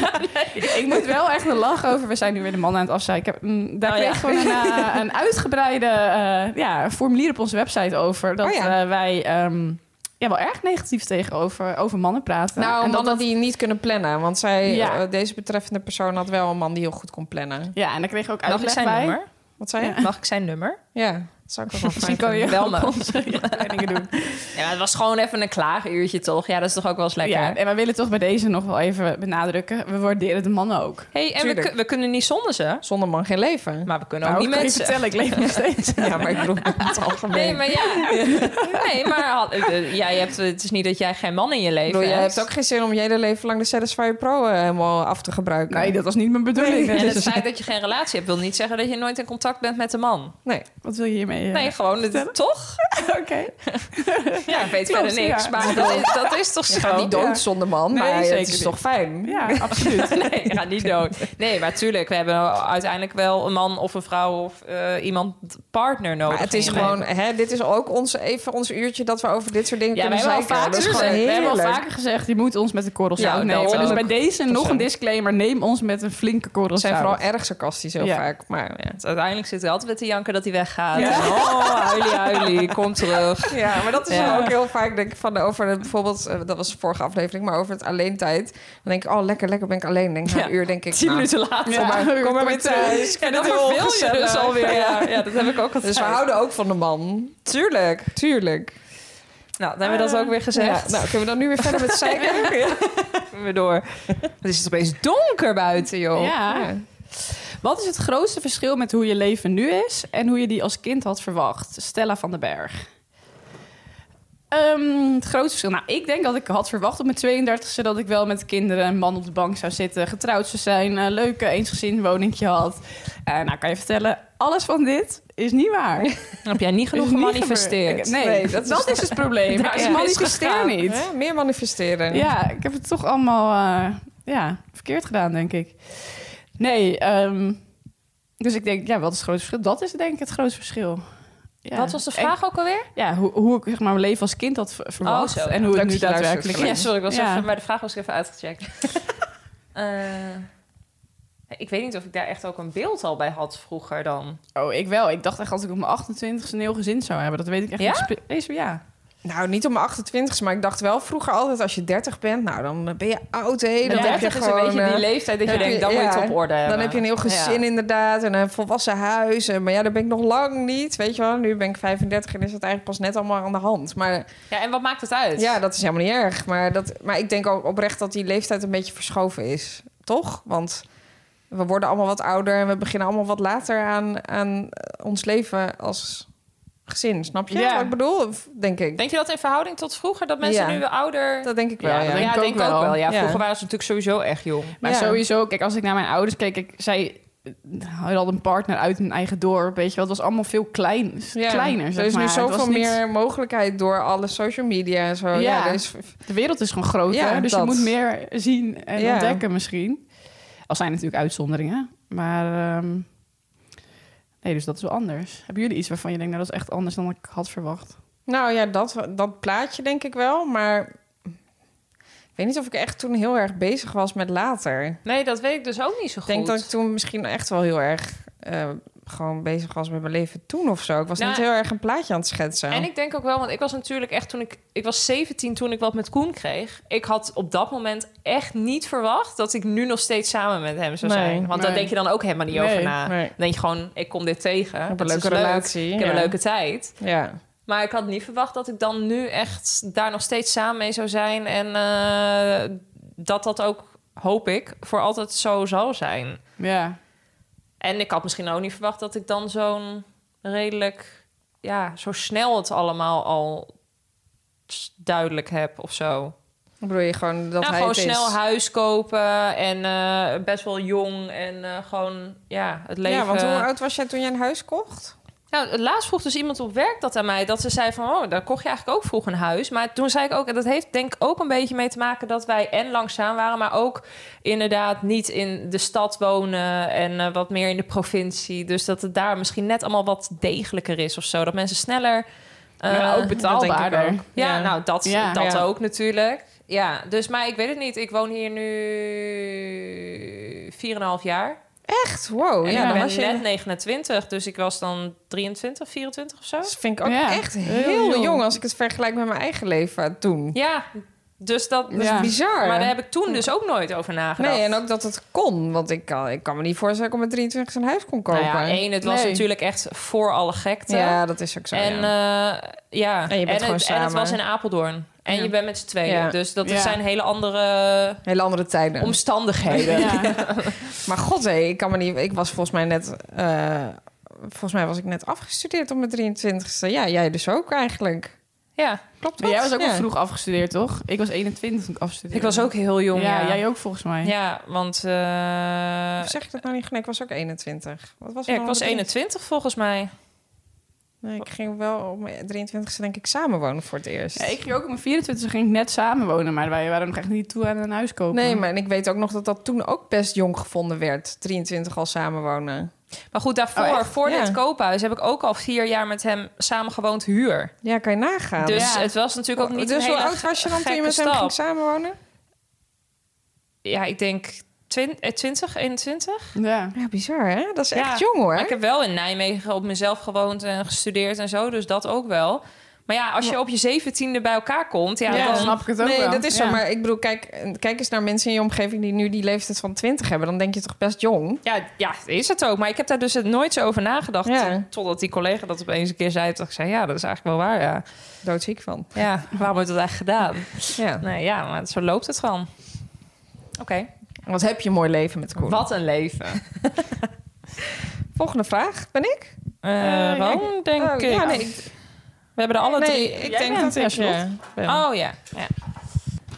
S5: Ik moet wel echt een lach over. We zijn nu weer de man aan het afzeiken. Mm, Daar
S6: Oh, ja.
S5: kreeg gewoon een, eh, een uitgebreide eh, ja, formulier op onze website over. Dat
S4: Oh, ja.
S5: eh, wij ehm, ja, wel erg negatief tegenover over mannen praten.
S4: Nou,
S5: en dat,
S4: mannen die niet kunnen plannen. Want zij,
S5: Ja.
S4: eh, deze betreffende persoon had wel een man die heel goed kon plannen.
S5: ja, en daar kreeg ook
S6: Mag ik
S5: uitleg
S6: zijn
S5: bij.
S6: nummer?
S4: Wat zei je?
S6: Mag ik zijn nummer?
S4: Ja, dat zou ik ook wel <laughs> fijn
S5: Misschien kan je
S4: vinden.
S6: Wel
S5: wel
S6: me.
S5: <laughs> dingen doen.
S6: Ja, maar het was gewoon even een klaaguurtje, toch? Ja, dat is toch ook wel eens lekker.
S5: Ja, en we willen toch bij deze nog wel even benadrukken. We waarderen de mannen ook.
S6: hey, en we,
S4: Tuurlijk.
S6: kun- we kunnen niet zonder ze,
S4: Zonder man geen leven.
S6: maar we kunnen
S5: Nou,
S6: ook niet
S5: ik kan je
S6: met ze.
S5: vertellen, ik leef nog
S4: <laughs>
S5: steeds.
S4: Ja, maar ik bedoel in het algemeen.
S6: Nee, maar ja. Nee, maar had- eh, jij hebt, het is niet dat jij geen man in je
S4: Ik
S6: leven
S4: bedoel, jij
S6: hebt.
S4: hebt ook geen zin om je hele leven lang de Satisfyer Pro eh, helemaal af te gebruiken.
S5: Nee, dat was niet mijn bedoeling.
S6: En
S4: dus
S6: het feit dat je geen relatie hebt, wil niet zeggen dat je nooit in contact bent met de man.
S4: Nee.
S5: Wat wil je hiermee? eh,
S6: Nee, gewoon, het- toch?
S5: Oké.
S6: Ja, ik weet
S5: Klopt,
S6: verder niks,
S5: ja.
S6: maar dat is, dat is toch
S4: Je
S6: zo?
S4: gaat niet dood
S5: Ja.
S4: zonder man,
S5: Nee,
S4: maar het
S5: zeker
S4: is
S5: niet.
S4: toch fijn?
S5: Ja, absoluut.
S6: <laughs> Nee, je gaat niet dood. Nee, maar tuurlijk, we hebben uiteindelijk wel een man of een vrouw of eh, iemand partner nodig.
S4: Maar het is
S6: in je
S4: gewoon,
S6: leven.
S4: hè, dit is ook ons, even ons uurtje dat we over dit soort dingen
S6: Ja,
S4: kunnen
S6: we hebben al
S4: zeiken.
S6: vaker
S4: dat is gewoon
S6: gezegd,
S5: We
S4: heerlijk.
S5: hebben al vaker gezegd, je moet ons met de korrel
S6: Ja,
S5: zout
S6: dat
S5: nemen. Dus
S6: ook.
S5: bij deze nog
S6: zo.
S5: een disclaimer. Neem ons met een flinke korrel
S4: We zijn
S5: zout.
S4: vooral erg sarcastisch heel
S5: Ja.
S4: vaak. Maar, ja.
S6: Uiteindelijk zit hij altijd met de janker dat hij weggaat.
S5: Ja.
S6: En, Oh, huilie, huilie,
S4: <laughs>
S6: kom terug.
S4: Ja, maar dat is
S6: Ja.
S4: ook heel vaak denk ik van over het- bijvoorbeeld eh, dat was de vorige aflevering, maar over het alleentijd. Dan denk ik oh lekker lekker ben ik alleen. Denk ik, na
S6: Ja.
S4: een uur denk ik.
S6: Tien
S4: nou,
S6: minuten later.
S5: Ja.
S4: Kom maar, kom maar weer
S5: Kom maar
S4: thuis.
S6: Ja, dat
S4: het heel
S6: verveel je
S4: gezellig.
S6: dus alweer. Ja.
S4: Ja.
S6: ja, dat heb ik ook altijd.
S4: Dus we houden ook van de man.
S6: Tuurlijk.
S4: Tuurlijk.
S6: Nou, dan hebben we dat ook weer gezegd.
S4: Ja, nou, kunnen we dan nu weer verder met zeiken? <laughs> Ja.
S6: Gaan we
S4: <laughs>
S6: door. Het is opeens donker buiten, joh.
S5: Ja. Wat is het grootste verschil met hoe je leven nu is en hoe je die als kind had verwacht? Stella van den Berg. Ehm, het grootste verschil. Nou, ik denk dat ik had verwacht op mijn 32e dat ik wel met kinderen een man op de bank zou zitten, getrouwd zou zijn, een leuke eensgezin woningje had. Eh, nou, kan je vertellen, alles van dit is niet waar.
S6: Dan heb jij niet genoeg
S5: Is niet
S6: gemanifesteerd.
S5: gebeurd. Nee,
S4: Nee, dat
S5: dat,
S4: is-
S5: is het
S6: <laughs>
S5: probleem.
S6: Daar dus is
S5: ik
S6: het
S5: manifesteer
S6: misgegaan,
S5: niet.
S4: Hè? Meer manifesteren.
S5: Ja, ik heb het toch allemaal eh, ja, verkeerd gedaan, denk ik. Nee, ehm, dus ik denk, ja, wat is het grote verschil? Dat is denk ik het grootste verschil. Ja.
S6: Wat was de vraag ook alweer? Oh,
S5: Ik- ja, hoe, hoe ik zeg maar, mijn leven als kind had ver- verwacht
S6: zo, ja.
S5: en hoe
S4: Leuk
S5: het nu
S4: Oh, dat je luistert,
S5: daadwerkelijk
S4: Verleid.
S6: Ja,
S5: is.
S6: sorry, ik was
S5: Ja.
S6: even, bij de vraag was ik even <laughs> uitgecheckt. Eh, ik weet niet of ik daar echt ook een beeld al bij had vroeger dan.
S5: Oh, ik wel. Ik dacht echt als ik op mijn 28 e een heel gezin zou hebben. Dat weet ik echt
S6: Ja?
S5: niet. spe- Eens, ja.
S4: Nou, niet om mijn 28 maar ik dacht wel vroeger altijd als je 30 bent, nou dan ben je oud hé. Dan
S6: Ja,
S4: heb
S6: 30
S4: je
S6: is
S4: gewoon,
S6: een beetje die
S4: eh,
S6: leeftijd dat je
S4: heb je-
S6: denkt, dan moet je
S4: ja,
S6: het op orde hebben.
S4: Dan heb je een heel gezin inderdaad en een volwassen huis. En, maar ja, daar ben ik nog lang niet, weet je wel. Nu ben ik 35 en is het eigenlijk pas net allemaal aan de hand. Maar
S6: Ja. ja, en wat maakt het uit?
S4: ja, dat is helemaal niet erg. Maar, dat, maar ik denk ook oprecht dat die leeftijd een beetje verschoven is, toch? Want we worden allemaal wat ouder en we beginnen allemaal wat later aan, aan eh, ons leven als gezin. Snap je
S5: Ja.
S4: wat ik bedoel? Of Denk ik.
S6: Denk je dat in verhouding tot vroeger, dat mensen
S4: Ja.
S6: nu weer ouder...
S4: Dat denk ik wel,
S5: Ja,
S4: ja.
S5: dat denk
S6: ja,
S5: ik ook
S6: denk ik ook
S5: wel.
S6: wel. Ja,
S4: Ja.
S6: vroeger waren ze natuurlijk sowieso echt jong.
S5: Maar
S4: Ja.
S5: sowieso, kijk, als ik naar mijn ouders keek, ik, zij eh, hadden een partner uit hun eigen dorp, weet je wel. Het was allemaal veel klein, kleiner, zeg
S4: Er is
S5: maar.
S4: nu
S5: Het was
S4: zoveel
S5: niet-
S4: meer mogelijkheid door alle social media en zo. Ja,
S5: Ja.
S4: er is-
S5: De wereld is gewoon groter,
S4: Ja,
S5: dus
S4: dat.
S5: je moet meer zien en
S4: Ja.
S5: ontdekken misschien. Al zijn er natuurlijk uitzonderingen, maar... ehm, nee, dus dat is wel anders. Hebben jullie iets waarvan je denkt, nou, dat is echt anders dan ik had verwacht?
S4: nou ja, dat, dat plaatje denk ik wel. Maar ik weet niet of ik echt toen heel erg bezig was met later.
S6: Nee, dat weet ik dus ook niet zo
S4: Ik
S6: goed.
S4: denk dat ik toen misschien echt wel heel erg eh, gewoon bezig was met mijn leven toen of zo. Ik was
S6: Nou,
S4: niet heel erg een plaatje aan het schetsen.
S6: En ik denk ook wel, want ik was natuurlijk echt toen ik... Ik was 17 toen ik wat met Koen kreeg. Ik had op dat moment echt niet verwacht... dat ik nu nog steeds samen met hem zou
S4: Nee,
S6: zijn. Want daar
S5: nee.
S6: denk je dan ook helemaal niet
S5: Nee,
S6: over na.
S4: nee.
S6: Dan denk je gewoon, ik kom dit tegen.
S4: heb
S6: dat
S4: een
S6: is
S4: leuke
S6: leuk.
S4: relatie,
S6: Ik heb een
S4: ja.
S6: leuke tijd.
S4: Ja.
S6: Maar ik had niet verwacht dat ik dan nu echt... daar nog steeds samen mee zou zijn. En eh, dat dat ook, hoop ik, voor altijd zo zal zijn.
S5: Ja,
S6: En ik had misschien ook niet verwacht dat ik dan zo'n redelijk, ja, zo snel het allemaal al s- duidelijk heb of zo.
S4: Dan bedoel je gewoon dat
S6: nou,
S4: hij
S6: gewoon
S4: het is.
S6: snel huis kopen en eh, best wel jong en eh, gewoon ja, het leven.
S4: Ja, want hoe oud was jij toen je een huis kocht?
S6: Nou, het laatst vroeg dus iemand op werk dat aan mij. Dat ze zei van, oh, daar kocht je eigenlijk ook vroeg een huis. Maar toen zei ik ook, en dat heeft denk ik ook een beetje mee te maken... dat wij en langzaam waren, maar ook inderdaad niet in de stad wonen... en eh, wat meer in de provincie. Dus dat het daar misschien net allemaal wat degelijker is of zo. Dat mensen sneller... eh,
S5: maar ook
S4: dat
S5: betaalbaarder.
S4: denk ik
S6: ja,
S4: Ja.
S6: nou, dat,
S5: Ja.
S6: dat
S4: Ja.
S6: ook natuurlijk. Ja, dus maar ik weet het niet. Ik woon hier nu 4,5 jaar.
S4: Echt? Wow.
S6: En
S4: Oh ja,
S6: ik
S4: dan
S6: ben
S4: was je...
S6: net 29, dus ik was dan 23, 24 of zo.
S4: Dat vind ik ook
S5: Ja.
S4: echt heel,
S5: Heel jong.
S4: jong als ik het vergelijk met mijn eigen leven toen.
S6: Ja, dus dat...
S4: Dat is
S5: Ja.
S4: bizar.
S6: Maar daar heb ik toen dus ook nooit over nagedacht.
S4: Nee, en ook dat het kon. Want ik kan, ik kan me niet voorstellen dat ik op mijn 23 een huis kon kopen.
S6: Nou ja, één, het was
S5: Nee.
S6: natuurlijk echt voor alle gekte.
S4: Ja, dat is ook zo.
S6: en,
S4: ja.
S6: eh, ja.
S4: En je bent
S6: het,
S4: gewoon
S6: en het
S4: samen.
S6: was in Apeldoorn. En
S4: Ja.
S6: je bent met z'n tweeën.
S4: Ja.
S6: Dus dat
S5: Ja.
S6: zijn hele andere
S4: Hele andere tijden.
S6: omstandigheden.
S4: <laughs>
S5: Ja.
S4: Maar god, hé, ik kan me niet. Ik was volgens mij net. eh, volgens mij was ik net afgestudeerd op mijn 23ste. Ja, jij dus ook eigenlijk.
S6: Ja.
S4: Klopt
S5: Maar
S4: dat?
S5: <laughs> jij was ook
S4: ja.
S5: al vroeg afgestudeerd, toch? Ik was 21 toen ik afstudeerde.
S6: Ik was ook heel jong.
S5: ja,
S6: Ja,
S5: jij ook volgens mij.
S6: Ja, want eh,
S4: Of zeg ik dat nou niet? Nee, ik was ook 21. Wat was
S6: ja, ik
S4: ik dan
S6: was
S4: op mijn
S6: 21 volgens mij.
S4: 23? Nee, ik ging wel op mijn 23ste denk ik samenwonen voor het eerst.
S5: Ja, ik ging ook op mijn 24 ging ik net samenwonen, maar wij waren nog echt niet toe aan een huis kopen.
S4: Nee, maar en ik weet ook nog dat dat toen ook best jong gevonden werd. 23 al samenwonen.
S6: Maar goed, daarvoor,
S5: Oh,
S6: voor
S4: Ja.
S6: dit koophuis, heb ik ook al vier jaar met hem samen gewoond huur.
S4: Ja, kan je nagaan.
S6: Dus
S5: Ja.
S6: het was natuurlijk ook niet
S4: dus
S6: een
S4: hoe
S6: hele
S4: oud was je dan toen je
S6: gekke
S4: met hem
S6: stap.
S4: ging samenwonen?
S6: Ja, ik denk 20, eh, 20 21.
S5: Ja.
S4: Ja, bizar hè? Dat is
S6: Ja,
S4: echt jong hoor.
S6: Maar ik heb wel in Nijmegen op mezelf gewoond en gestudeerd en zo, dus dat ook wel. Maar ja, als je op je zeventiende bij elkaar komt, ja,
S5: Ja,
S6: dan...
S5: dan snap ik het ook
S4: nee,
S5: wel.
S4: dat is
S5: ja.
S4: zo. Maar ik bedoel, kijk, kijk eens naar mensen in je omgeving die nu die leeftijd van 20 hebben. Dan denk je toch best jong.
S6: Ja, ja, is het ook. Maar ik heb daar dus nooit zo over nagedacht.
S4: Ja.
S6: Totdat die collega dat opeens een keer zei. Toen ik zei, ja, dat is eigenlijk wel waar, ja.
S4: Doodziek van.
S6: Ja, waarom heb je dat eigenlijk gedaan?
S4: Ja.
S6: Nee, ja, maar zo loopt het gewoon. Oké.
S4: Wat heb je een mooi leven met Koen.
S6: Wat een leven.
S4: Volgende vraag. Ben ik?
S6: Eh Ron, denk
S4: Oh,
S6: ik.
S4: Ja, nee, ik,
S6: We hebben er alle
S4: nee,
S6: drie...
S4: ik
S5: Jij
S4: denk
S5: bent,
S4: dat ik...
S5: Charlotte.
S4: ja, ben.
S6: Oh ja. ja.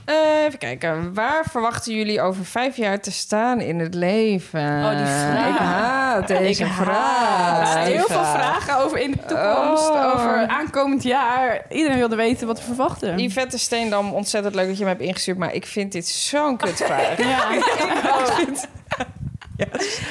S4: Eh, even kijken. Waar verwachten jullie over vijf jaar te staan in het leven?
S6: Oh, die vraag.
S4: Ik haat deze
S6: Ik haat
S5: Er
S4: vraag.
S5: zijn heel veel vragen over in de toekomst,
S4: Ah, Oh.
S5: over aankomend jaar. Iedereen wilde weten wat we verwachten.
S4: Yvette Steendam, ontzettend leuk dat je me hebt ingestuurd, maar ik vind dit zo'n <laughs> kutvraag.
S5: Ja.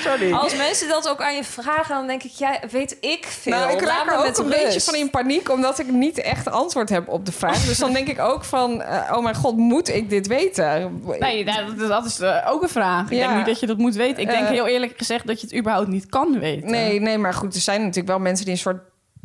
S4: Sorry.
S6: Als mensen dat ook aan je vragen, dan denk ik, ja, weet ik veel.
S4: Nou, ik
S6: Laat
S4: raak
S6: me
S4: er ook
S6: met
S4: een
S6: rust.
S4: beetje van in paniek, omdat ik niet echt antwoord heb op de vraag. Dus dan denk ik ook van, eh, oh mijn god, moet ik dit weten?
S5: Nee, nou, dat, dat is eh, ook een vraag. Ik
S4: Ja.
S5: denk niet dat je dat moet weten. Ik denk
S4: Eh.
S5: heel eerlijk gezegd dat je het überhaupt niet kan weten.
S4: Nee, nee, maar goed, er zijn natuurlijk wel mensen die een soort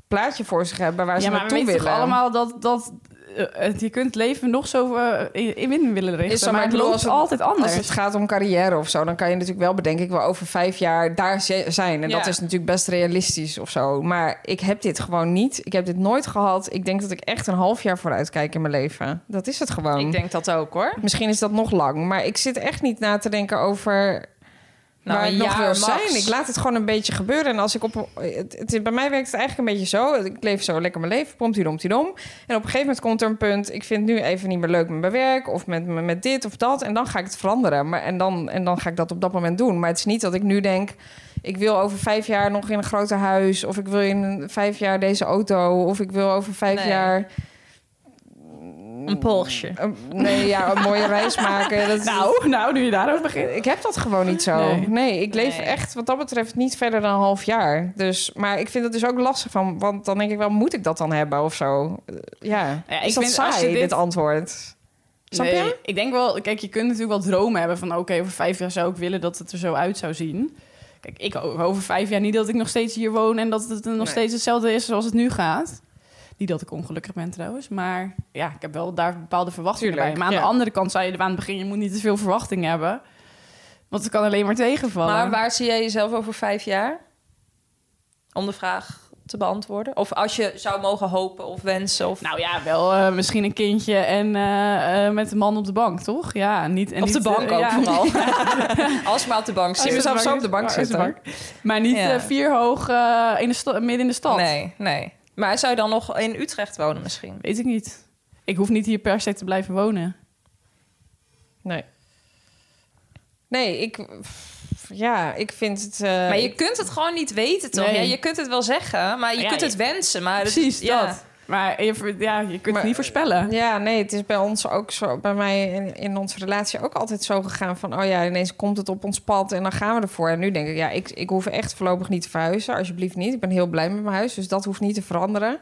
S4: plaatje voor zich hebben waar ze
S5: ja, maar we
S4: naartoe
S5: weten
S4: willen.
S5: toch allemaal dat, dat eh, het- je kunt leven nog zo eh, in in willen richten.
S4: Is zo,
S5: maar,
S4: maar ik
S5: het
S4: bedoel,
S5: loopt
S4: als het-
S5: altijd anders.
S4: Als het gaat om carrière of zo, dan kan je natuurlijk wel bedenken... ik wil over vijf jaar daar ze- zijn. En
S6: Ja.
S4: dat is natuurlijk best realistisch of zo. Maar ik heb dit gewoon niet. Ik heb dit nooit gehad. Ik denk dat ik echt een half jaar vooruit kijk in mijn leven. Dat is het gewoon.
S6: Ik denk dat ook, hoor.
S4: Misschien is dat nog lang. Maar ik zit echt niet na te denken over
S6: Nou,
S4: waar
S6: een
S4: ik nog
S6: jaar
S4: wil
S6: max.
S4: zijn. Ik laat het gewoon een beetje gebeuren. En als ik op... Het, het- bij mij werkt het eigenlijk een beetje zo. Ik leef zo lekker mijn leven. Pompt hierom, dom. En op een gegeven moment komt er een punt... ik vind het nu even niet meer leuk met mijn werk... of met, met dit of dat. En dan ga ik het veranderen. Maar, en, dan, en dan ga ik dat op dat moment doen. Maar het is niet dat ik nu denk... ik wil over vijf jaar nog in een grote huis... of ik wil in vijf jaar deze auto... of ik wil over vijf
S6: Nee.
S4: jaar...
S6: Een Porsche.
S4: een- nee, ja, een mooie reis maken. Dat,
S5: Nou, <laughs> nou, nu je daarover begint.
S4: ik heb dat gewoon niet zo. Nee,
S5: Nee.
S4: ik leef
S6: Nee.
S4: echt wat dat betreft niet verder dan een half jaar. Dus, maar ik vind het dus ook lastig van, want dan denk ik wel, moet ik dat dan hebben of zo? Eh, Ja,
S5: Ja,
S4: is
S5: ik
S4: dat
S5: vind
S4: saai,
S5: als je
S4: dit...
S5: dit-
S4: antwoord? Snap
S5: Nee,
S4: je?
S5: ik denk wel, kijk, je kunt natuurlijk wel dromen hebben van oké, over vijf jaar zou ik willen dat het er zo uit zou zien. Kijk, ik hoop over vijf jaar niet dat ik nog steeds hier woon en dat het nog
S4: Nee.
S5: steeds hetzelfde is zoals het nu gaat. Niet dat ik ongelukkig ben trouwens, maar ja, ik heb wel daar bepaalde verwachtingen
S4: Tuurlijk,
S5: bij. Maar aan
S4: ja.
S5: de andere kant zei je aan het begin, je moet niet te veel verwachtingen hebben. Want het kan alleen maar tegenvallen.
S6: Maar waar zie jij jezelf over vijf jaar? Om de vraag te beantwoorden. Of als je zou mogen hopen of wensen. Of...
S5: Nou ja, wel eh, misschien een kindje en eh, eh, met een man op de bank, toch? Ja, niet, en
S6: op de
S5: niet,
S6: bank
S5: eh,
S6: ook
S5: ja.
S6: vooral. <laughs> Als je maar op de bank
S5: Als
S4: Zie
S6: zit.
S5: je
S4: mezelf zo op de bank
S5: als je
S4: zitten.
S5: Maar niet
S6: Ja.
S5: eh, vier hoog eh, in de sta- midden in de stad.
S6: Nee, nee. Maar zou je dan nog in Utrecht wonen misschien?
S5: Weet ik niet. Ik hoef niet hier per se te blijven wonen.
S4: Nee. Nee, ik... Ja, ik vind het... eh,
S6: Maar je kunt het gewoon niet weten, toch?
S5: Nee.
S6: Ja, je kunt het wel zeggen, maar je
S5: Ja,
S6: kunt het
S5: je-
S6: wensen. Maar het-
S5: Precies,
S6: ja.
S5: dat. Maar je, ja, je kunt
S4: Maar-
S5: het niet voorspellen.
S4: Ja, nee, het is bij ons ook zo, bij mij in, in onze relatie ook altijd zo gegaan van, oh ja, ineens komt het op ons pad en dan gaan we ervoor. En nu denk ik, ja, ik, ik hoef echt voorlopig niet te verhuizen, alsjeblieft niet. Ik ben heel blij met mijn huis, dus dat hoeft niet te veranderen.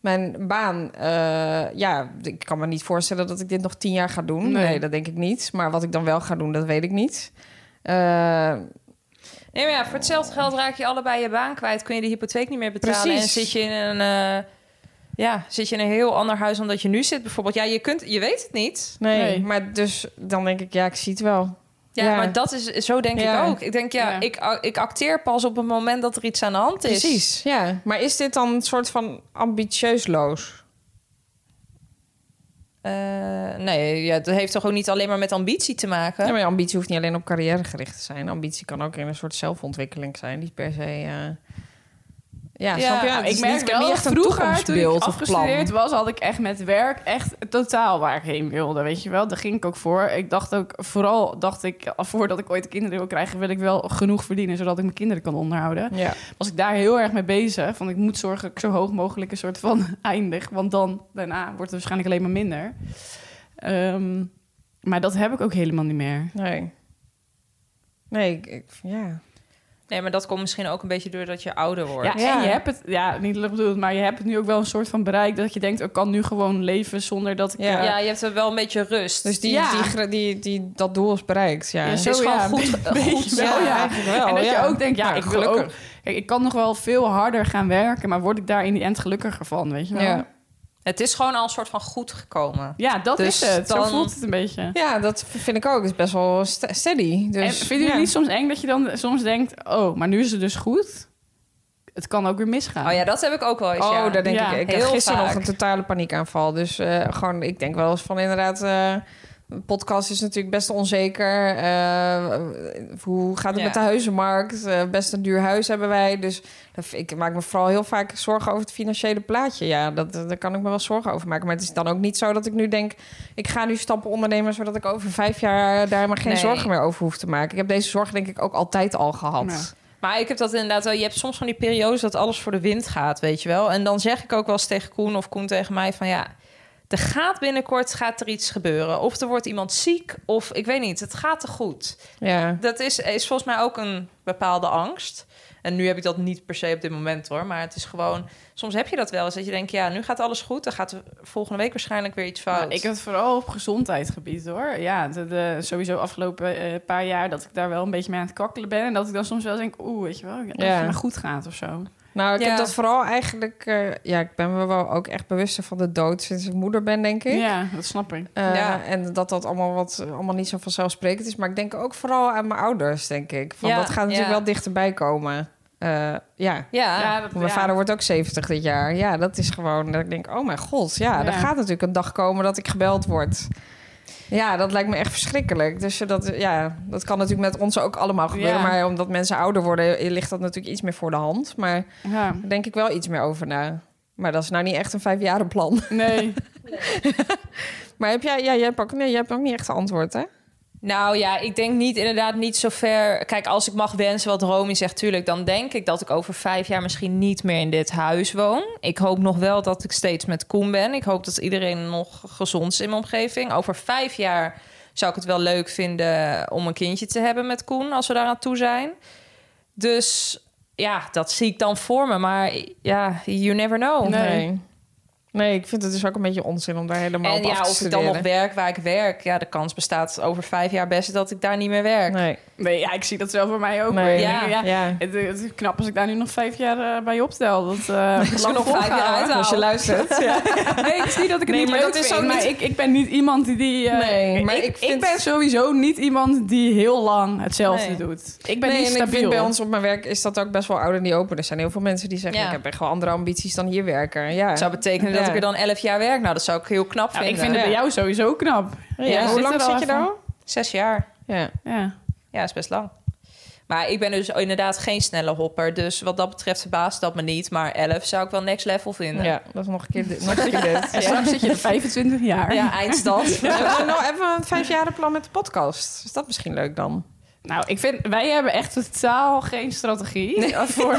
S4: Mijn baan, eh, ja, ik kan me niet voorstellen dat ik dit nog tien jaar ga doen. Nee.
S5: Nee.
S4: dat denk ik niet. Maar wat ik dan wel ga doen, dat weet ik niet. Eh,
S6: Nee, maar ja, voor hetzelfde geld raak je allebei je baan kwijt. Kun je de hypotheek niet meer betalen.
S4: Precies.
S6: En zit je in een... eh, ja, zit je in een heel ander huis dan dat je nu zit bijvoorbeeld. Ja, je, kunt, je weet het niet.
S4: nee,
S5: Nee.
S4: maar dus dan denk ik, ja, ik zie het wel.
S6: Ja,
S4: Ja.
S6: maar dat is... Zo denk
S4: Ja.
S6: ik ook. Ik denk, ja,
S5: Ja.
S6: Ik, a- ik acteer pas op het moment dat er iets aan de hand is.
S4: Precies, ja. Maar is dit dan een soort van ambitieusloos?
S6: Eh, nee, ja, dat heeft toch ook niet alleen maar met ambitie te maken?
S4: Ja, maar je ambitie hoeft niet alleen op carrière gericht te zijn. Ambitie kan ook in een soort zelfontwikkeling zijn. Niet per se... eh, Ja, snap je? Het
S5: nou, ik
S4: is
S5: merk
S4: niet-
S5: wel
S4: niet
S5: dat
S4: echt een
S5: vroeger, toen ik
S4: toekomstbeeld of plan.
S5: afgestudeerd was, had ik echt met werk echt totaal waar ik heen wilde, weet je wel. Daar ging ik ook voor. Ik dacht ook, vooral dacht ik, voordat ik ooit kinderen wil krijgen, wil ik wel genoeg verdienen, zodat ik mijn kinderen kan onderhouden.
S4: Ja.
S5: Was ik daar heel erg mee bezig, van ik moet zorgen dat ik zo hoog mogelijk een soort van <laughs> eindig, want dan, daarna wordt het waarschijnlijk alleen maar minder. Ehm, maar dat heb ik ook helemaal niet meer.
S4: Nee. Nee, ik, ik- ja.
S6: Nee, maar dat komt misschien ook een beetje doordat je ouder wordt.
S5: Ja,
S4: Ja.
S5: en je hebt het, ja, niet lullig bedoeld, maar je hebt het nu ook wel een soort van bereik dat je denkt, ik kan nu gewoon leven zonder dat ik...
S4: Ja.
S5: eh,
S6: Ja, je hebt er wel een beetje rust.
S4: Dus die,
S5: Ja.
S4: die, gra- die, die, dat doel is bereikt, ja.
S5: Ja,
S6: het is
S5: zo,
S6: gewoon
S5: ja,
S6: goed,
S5: <laughs> een beetje
S6: goed
S5: wel,
S6: zijn.
S5: ja.
S4: eigenlijk wel,
S5: en dat
S4: ja.
S5: je ook denkt, ja,
S4: Nou,
S5: ik wil
S4: gelukkig.
S5: ook... Kijk, ik kan nog wel veel harder gaan werken, maar word ik daar in die end gelukkiger van, weet je wel?
S4: Ja.
S5: Ja,
S6: Het is gewoon al een soort van goed gekomen.
S5: dat
S6: Dus
S5: is het.
S6: dan-
S5: Zo voelt het een beetje.
S4: Ja, dat vind ik ook. Het is best wel ste- steady. Dus,
S5: en vinden jullie
S4: ja.
S5: het niet soms eng dat je dan soms denkt, oh, maar nu is het dus goed. Het kan ook weer misgaan.
S6: Oh ja, dat heb ik ook wel eens. ja.
S4: Oh, daar denk
S5: Ja,
S4: ik. Ik heb
S6: heel
S4: gisteren nog
S6: vaak.
S4: een totale paniekaanval. Dus eh, gewoon, ik denk wel eens van inderdaad. eh, een podcast is natuurlijk best onzeker. Eh, hoe gaat het
S6: Ja.
S4: met de huizenmarkt? Eh, best een duur huis hebben wij. Dus dat- ik maak me vooral heel vaak zorgen over het financiële plaatje. Ja, dat, daar kan ik me wel zorgen over maken. Maar het is dan ook niet zo dat ik nu denk... ik ga nu stappen ondernemen... zodat ik over vijf jaar daar maar geen
S6: Nee.
S4: zorgen meer over hoef te maken. Ik heb deze zorgen denk ik ook altijd al gehad.
S5: Ja.
S6: Maar ik heb dat inderdaad wel. Je hebt soms van die periodes dat alles voor de wind gaat, weet je wel. En dan zeg ik ook wel eens tegen Koen of Koen tegen mij van ja. Er gaat binnenkort gaat er iets gebeuren. Of er wordt iemand ziek. Of ik weet niet. Het gaat te goed.
S4: Ja.
S6: Dat is, is volgens mij ook een bepaalde angst. En nu heb ik dat niet per se op dit moment hoor. Maar het is gewoon. Soms heb je dat wel eens. Dat je denkt, ja, nu gaat alles goed. Dan gaat er volgende week waarschijnlijk weer iets fout.
S5: Nou, ik heb het vooral op gezondheidsgebied hoor. Ja, de, de- sowieso afgelopen eh, paar jaar dat ik daar wel een beetje mee aan het kakkelen ben. En dat ik dan soms wel denk, oeh, weet je wel, als
S4: Ja.
S5: het maar goed gaat of zo.
S4: Nou, ik
S6: Ja.
S4: heb dat vooral eigenlijk... eh, ja, ik ben me wel ook echt bewuster van de dood sinds ik moeder ben, denk ik.
S5: Ja, dat snap ik.
S4: Eh,
S6: Ja.
S4: En dat dat allemaal, wat, allemaal niet zo vanzelfsprekend is. Maar ik denk ook vooral aan mijn ouders, denk ik. Van,
S6: Ja,
S4: dat gaat natuurlijk
S6: ja.
S4: wel dichterbij komen. Eh, ja.
S6: ja,
S5: dat,
S4: Mijn
S5: ja.
S4: vader wordt ook 70 dit jaar. Ja, dat is gewoon dat ik denk, oh mijn god. Ja,
S5: Ja.
S4: er gaat natuurlijk een dag komen dat ik gebeld word. Ja, dat lijkt me echt verschrikkelijk. Dus dat, ja, dat kan natuurlijk met ons ook allemaal gebeuren.
S5: Ja.
S4: Maar omdat mensen ouder worden, ligt dat natuurlijk iets meer voor de hand. Maar
S5: Ja.
S4: daar denk ik wel iets meer over na. Maar dat is nou niet echt een vijfjarenplan. <laughs>
S5: Nee,
S4: Maar heb jij, ja, jij, hebt ook, nee, jij hebt ook niet echt een antwoord, hè?
S6: Nou ja, ik denk niet inderdaad niet zo ver. Kijk, als ik mag wensen wat Romy zegt, tuurlijk, dan denk ik dat ik over vijf jaar misschien niet meer in dit huis woon. Ik hoop nog wel dat ik steeds met Koen ben. Ik hoop dat iedereen nog gezond is in mijn omgeving. Over vijf jaar zou ik het wel leuk vinden om een kindje te hebben met Koen, als we daaraan toe zijn. Dus ja, dat zie ik dan voor me. Maar ja, you never know.
S5: Nee.
S4: nee. Nee, ik vind het dus ook een beetje onzin om daar helemaal
S6: En
S4: op af
S6: ja,
S4: te
S6: of ik dan nog
S4: studeren.
S6: werk waar ik werk. Ja, de kans bestaat over vijf jaar best dat ik daar niet meer werk.
S4: Nee,
S5: nee ja, ik zie dat zelf voor mij ook.
S4: Nee.
S5: hoor.
S6: Ja.
S5: ja.
S4: ja.
S5: Het, het is knap als ik daar nu nog vijf jaar eh, bij optel. Dat eh
S6: Misschien nog vijf jaar uit
S4: Als je luistert.
S6: <laughs>
S4: ja.
S5: <laughs> Nee, het is niet dat ik het
S4: Nee,
S5: niet
S4: maar
S5: leuk
S4: dat is
S5: vind,
S4: ook
S5: maar
S4: niet-
S5: ik, ik ben niet iemand die... die eh,
S4: Nee, maar ik vind-
S5: ben sowieso niet iemand die heel lang hetzelfde
S6: Nee.
S5: doet. Ik ben
S4: Nee,
S5: niet
S4: en ik
S5: stabiel.
S4: vind bij ons op mijn werk is dat ook best wel oud en niet open. Er zijn heel veel mensen die zeggen,
S6: Ja.
S4: ik heb echt wel andere ambities dan hier werken. Ja.
S6: Het zou betekenen dat
S4: Ja.
S6: ik er dan 11 jaar werk. Nou, dat zou ik heel knap
S5: Nou, ik
S6: vinden.
S5: vind het bij
S4: Ja.
S5: jou sowieso knap.
S4: Ja,
S5: Ja,
S4: Hoe
S5: zit
S4: lang
S5: er al
S4: zit je
S5: even.
S4: daar al?
S6: Zes jaar.
S4: Ja.
S5: Ja.
S6: Ja, is best lang. Maar ik ben dus inderdaad geen snelle hopper. Dus wat dat betreft verbaast dat me niet. Maar 11 zou ik wel next level vinden.
S4: Ja, dat is nog een keer dit. Nog een keer <laughs> dit.
S5: En straks zit je er 25 jaar.
S6: Ja,
S5: <laughs>
S6: eindstand.
S4: Eh, nou, even een vijfjarenplan met de podcast. Is dat misschien leuk dan?
S5: Nou, ik vind, wij hebben echt totaal geen strategie. Voor...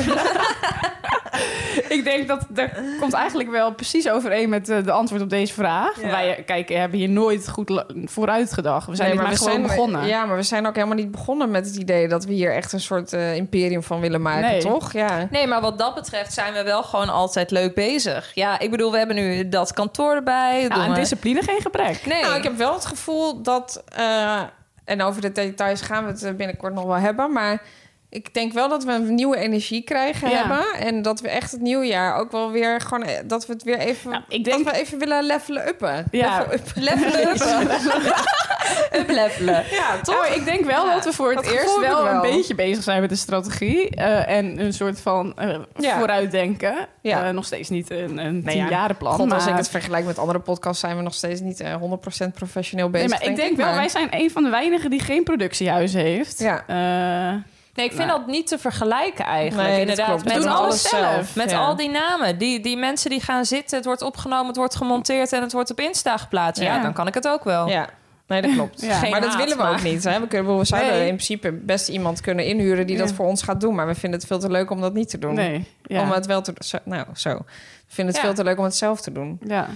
S5: ik denk dat dat komt eigenlijk wel precies overeen met eh, de antwoord op deze vraag.
S6: Ja.
S5: Wij eh, kijk, hebben hier nooit goed la- vooruit gedacht. We zijn
S4: Nee,
S5: niet maar,
S4: we
S5: gewoon
S4: zijn-
S5: begonnen.
S4: Ja, maar we zijn ook helemaal niet begonnen met het idee dat we hier echt een soort eh, imperium van willen maken,
S5: Nee.
S4: toch? Ja.
S6: Nee, maar wat dat betreft zijn we wel gewoon altijd leuk bezig. Ja, ik bedoel, we hebben nu dat kantoor erbij.
S5: Ja,
S6: doen
S5: aan
S6: we-
S5: discipline geen gebrek.
S6: Nee.
S4: Nou, ik heb wel het gevoel dat. eh, en over de details gaan we het eh, binnenkort nog wel hebben. Maar ik denk wel dat we een nieuwe energie krijgen
S5: Ja.
S4: hebben. En dat we echt het nieuwjaar ook wel weer gewoon. eh, Dat we het weer even.
S5: Nou, ik denk-
S4: Dat we even willen levelen uppen.
S5: Ja. <laughs>
S4: Level up.
S6: Levelen. <laughs> Uplevelen.
S4: Ja, toch?
S5: Nou, ik denk wel
S6: Ja,
S5: dat we voor het
S4: dat gevoel
S5: eerst
S4: heb
S5: wel,
S4: ik
S5: een
S4: wel.
S5: beetje bezig zijn met de strategie. eh, en een soort van eh,
S4: Ja.
S5: vooruitdenken.
S4: Ja.
S5: Eh, nog steeds niet een, een
S4: Nee, ja.
S5: tienjarenplan.
S4: God, als
S5: maar-
S4: ik het vergelijk met andere podcasts, zijn we nog steeds niet eh, 100% professioneel bezig.
S5: Nee, maar ik denk wel,
S4: maar.
S5: wij zijn een van de weinigen die geen productiehuis heeft.
S4: Ja.
S5: Eh,
S6: Nee, ik vind
S5: Nou.
S6: dat niet te vergelijken eigenlijk.
S4: Nee, dat klopt.
S6: Inderdaad,
S4: We
S6: met
S5: doen
S6: alles,
S5: alles zelf,
S6: zelf. Met
S5: ja.
S6: al die namen. Die, die mensen die gaan zitten, het wordt opgenomen, het wordt gemonteerd en het wordt op Insta geplaatst. Ja,
S5: Ja.
S6: dan kan ik het ook wel.
S4: Ja. Nee, dat klopt.
S5: Ja.
S6: Geen
S4: maar dat
S6: haat,
S4: willen we
S6: maar-
S4: ook niet. Hè? We, kunnen, we zouden
S6: Nee.
S4: in principe best iemand kunnen inhuren die dat
S5: Ja.
S4: voor ons gaat doen. Maar we vinden het veel te leuk om dat niet te doen.
S5: nee, ja.
S4: Om het wel te zo, Nou, zo. We vinden het
S6: Ja.
S4: veel te leuk om het zelf te doen.
S5: ja.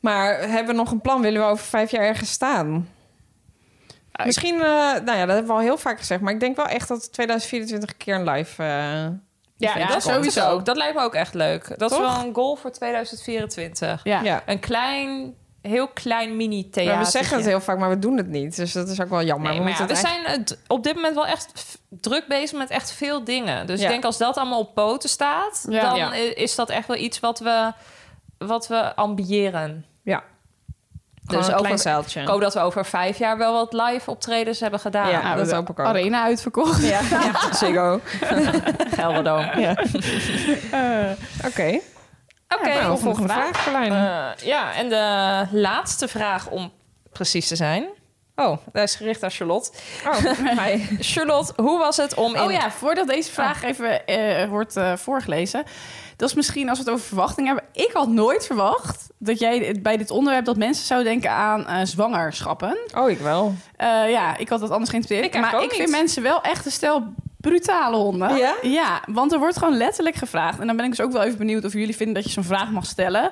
S4: Maar hebben we nog een plan? Willen we over vijf jaar ergens staan?
S5: ik-
S4: Misschien, eh, nou ja, dat hebben we al heel vaak gezegd. Maar ik denk wel echt dat 2024 een keer een live... eh,
S5: Ja,
S4: event
S5: ja,
S4: komt.
S5: sowieso.
S6: Dat ook. Dat lijkt me ook echt leuk. Dat
S4: Toch?
S6: is wel een goal voor 2024.
S5: Ja.
S4: Ja.
S6: Een klein, heel klein mini-theater.
S4: Maar we zeggen het heel vaak, maar we doen het niet. Dus dat is ook wel jammer.
S6: Nee,
S4: we
S6: maar ja,
S4: moeten
S6: we
S4: het
S6: zijn eh, d- op dit moment wel echt f- druk bezig met echt veel dingen. Dus
S4: Ja.
S6: ik denk als dat allemaal op poten staat,
S5: Ja.
S6: dan
S4: Ja.
S6: i- is dat echt wel iets wat we, wat we ambiëren.
S4: Ja.
S6: Dus
S4: dus een klein
S6: over,
S4: zeiltje.
S6: ik hoop dat we over vijf jaar wel wat live optredens hebben gedaan.
S4: Ja.
S5: Nou,
S4: dat
S5: we
S4: hoop ik ook.
S5: Arena uitverkocht.
S4: Ja, ja. Ziggo.
S6: Gelderdoom.
S4: Ja. Eh, Oké.
S6: Oké,
S4: Nou,
S6: volgende
S4: volgende vraag, Carlijn.
S6: Eh, ja, en de laatste vraag om precies te zijn. Oh, dat is gericht aan Charlotte.
S4: oh, <laughs> hi.
S6: Charlotte, hoe was het om in...
S5: Oh ja, voordat deze vraag even eh, wordt eh, voorgelezen. Dat is misschien als we het over verwachting hebben. Ik had nooit verwacht dat jij dit- bij dit onderwerp dat mensen zouden denken aan eh, zwangerschappen.
S4: Oh, ik wel.
S5: Eh, ja, ik had dat anders geïnteresseerd.
S6: Ik eigenlijk
S5: maar
S6: ook
S5: ik vind
S6: niet.
S5: mensen wel echt een stel brutale honden.
S4: Ja?
S5: want er wordt gewoon letterlijk gevraagd. En dan ben ik dus ook wel even benieuwd of jullie vinden dat je zo'n vraag mag stellen.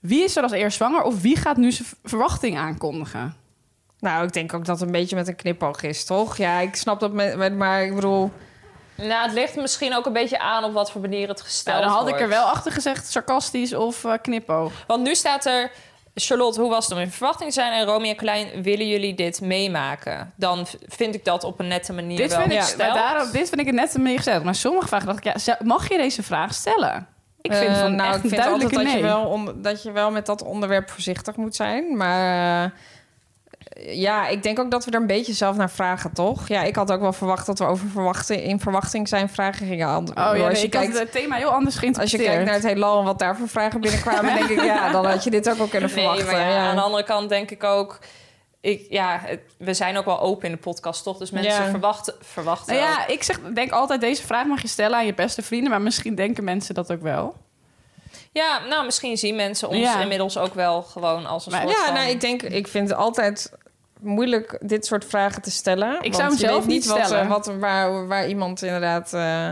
S5: Wie is er als eerst zwanger of wie gaat nu zijn v- verwachting aankondigen?
S4: Nou, ik denk ook dat het een beetje met een knipoog is, toch? Ja, ik snap dat, met, met- maar ik bedoel...
S6: Nou, het ligt misschien ook een beetje aan op wat voor manier het gesteld
S5: Nou, dan had ik er
S6: wordt.
S5: wel achter gezegd sarcastisch of eh, knipoog.
S6: Want nu staat er... Charlotte, hoe was het om in verwachting te zijn? En Romy en Klein, willen jullie dit meemaken? Dan v- vind ik dat op een nette manier
S5: Dit
S6: wel.
S5: vind, ik,
S4: Ja.
S5: sta- daarom, dit vind ik het net een beetje gezegd. Maar sommige vragen dacht ik, ja, zou- mag je deze vraag stellen? Ik vind
S4: eh,
S5: van
S4: nou,
S5: echt
S4: ik vind altijd
S5: duidelijke
S4: dat,
S5: nee.
S4: je wel on- dat je wel met dat onderwerp voorzichtig moet zijn. Maar eh, ja, ik denk ook dat we er een beetje zelf naar vragen, toch? Ja, ik had ook wel verwacht dat we over verwachting, in verwachting zijn vragen gingen antwoorden.
S5: Oh ja,
S4: als,
S5: nee,
S4: je
S5: ik had
S4: kijkt,
S5: het thema heel anders
S4: als je
S5: geïnterpreteerd.
S4: kijkt naar het heelal en wat daar voor vragen binnenkwamen... denk ik, ja, dan had je dit ook wel kunnen
S6: <laughs> Nee,
S4: verwachten.
S6: maar ja,
S4: ja.
S6: aan de andere kant denk ik ook... Ik, ja, het- we zijn ook wel open in de podcast, toch? Dus mensen
S4: Ja.
S6: verwachten, verwachten
S5: Nou
S6: ook.
S5: ja, ik zeg, denk altijd, deze vraag mag je stellen aan je beste vrienden. Maar misschien denken mensen dat ook wel.
S6: Ja, nou, misschien zien mensen ons
S5: Ja.
S6: inmiddels ook wel gewoon als een
S5: Maar-
S6: soort
S4: Ja,
S6: van...
S4: nou, ik denk, ik vind het altijd moeilijk dit soort vragen te stellen. want
S5: zou hem
S4: je
S5: zelf
S4: weet
S5: niet
S4: wat,
S5: stellen.
S4: eh, Wat, waar, waar iemand inderdaad eh,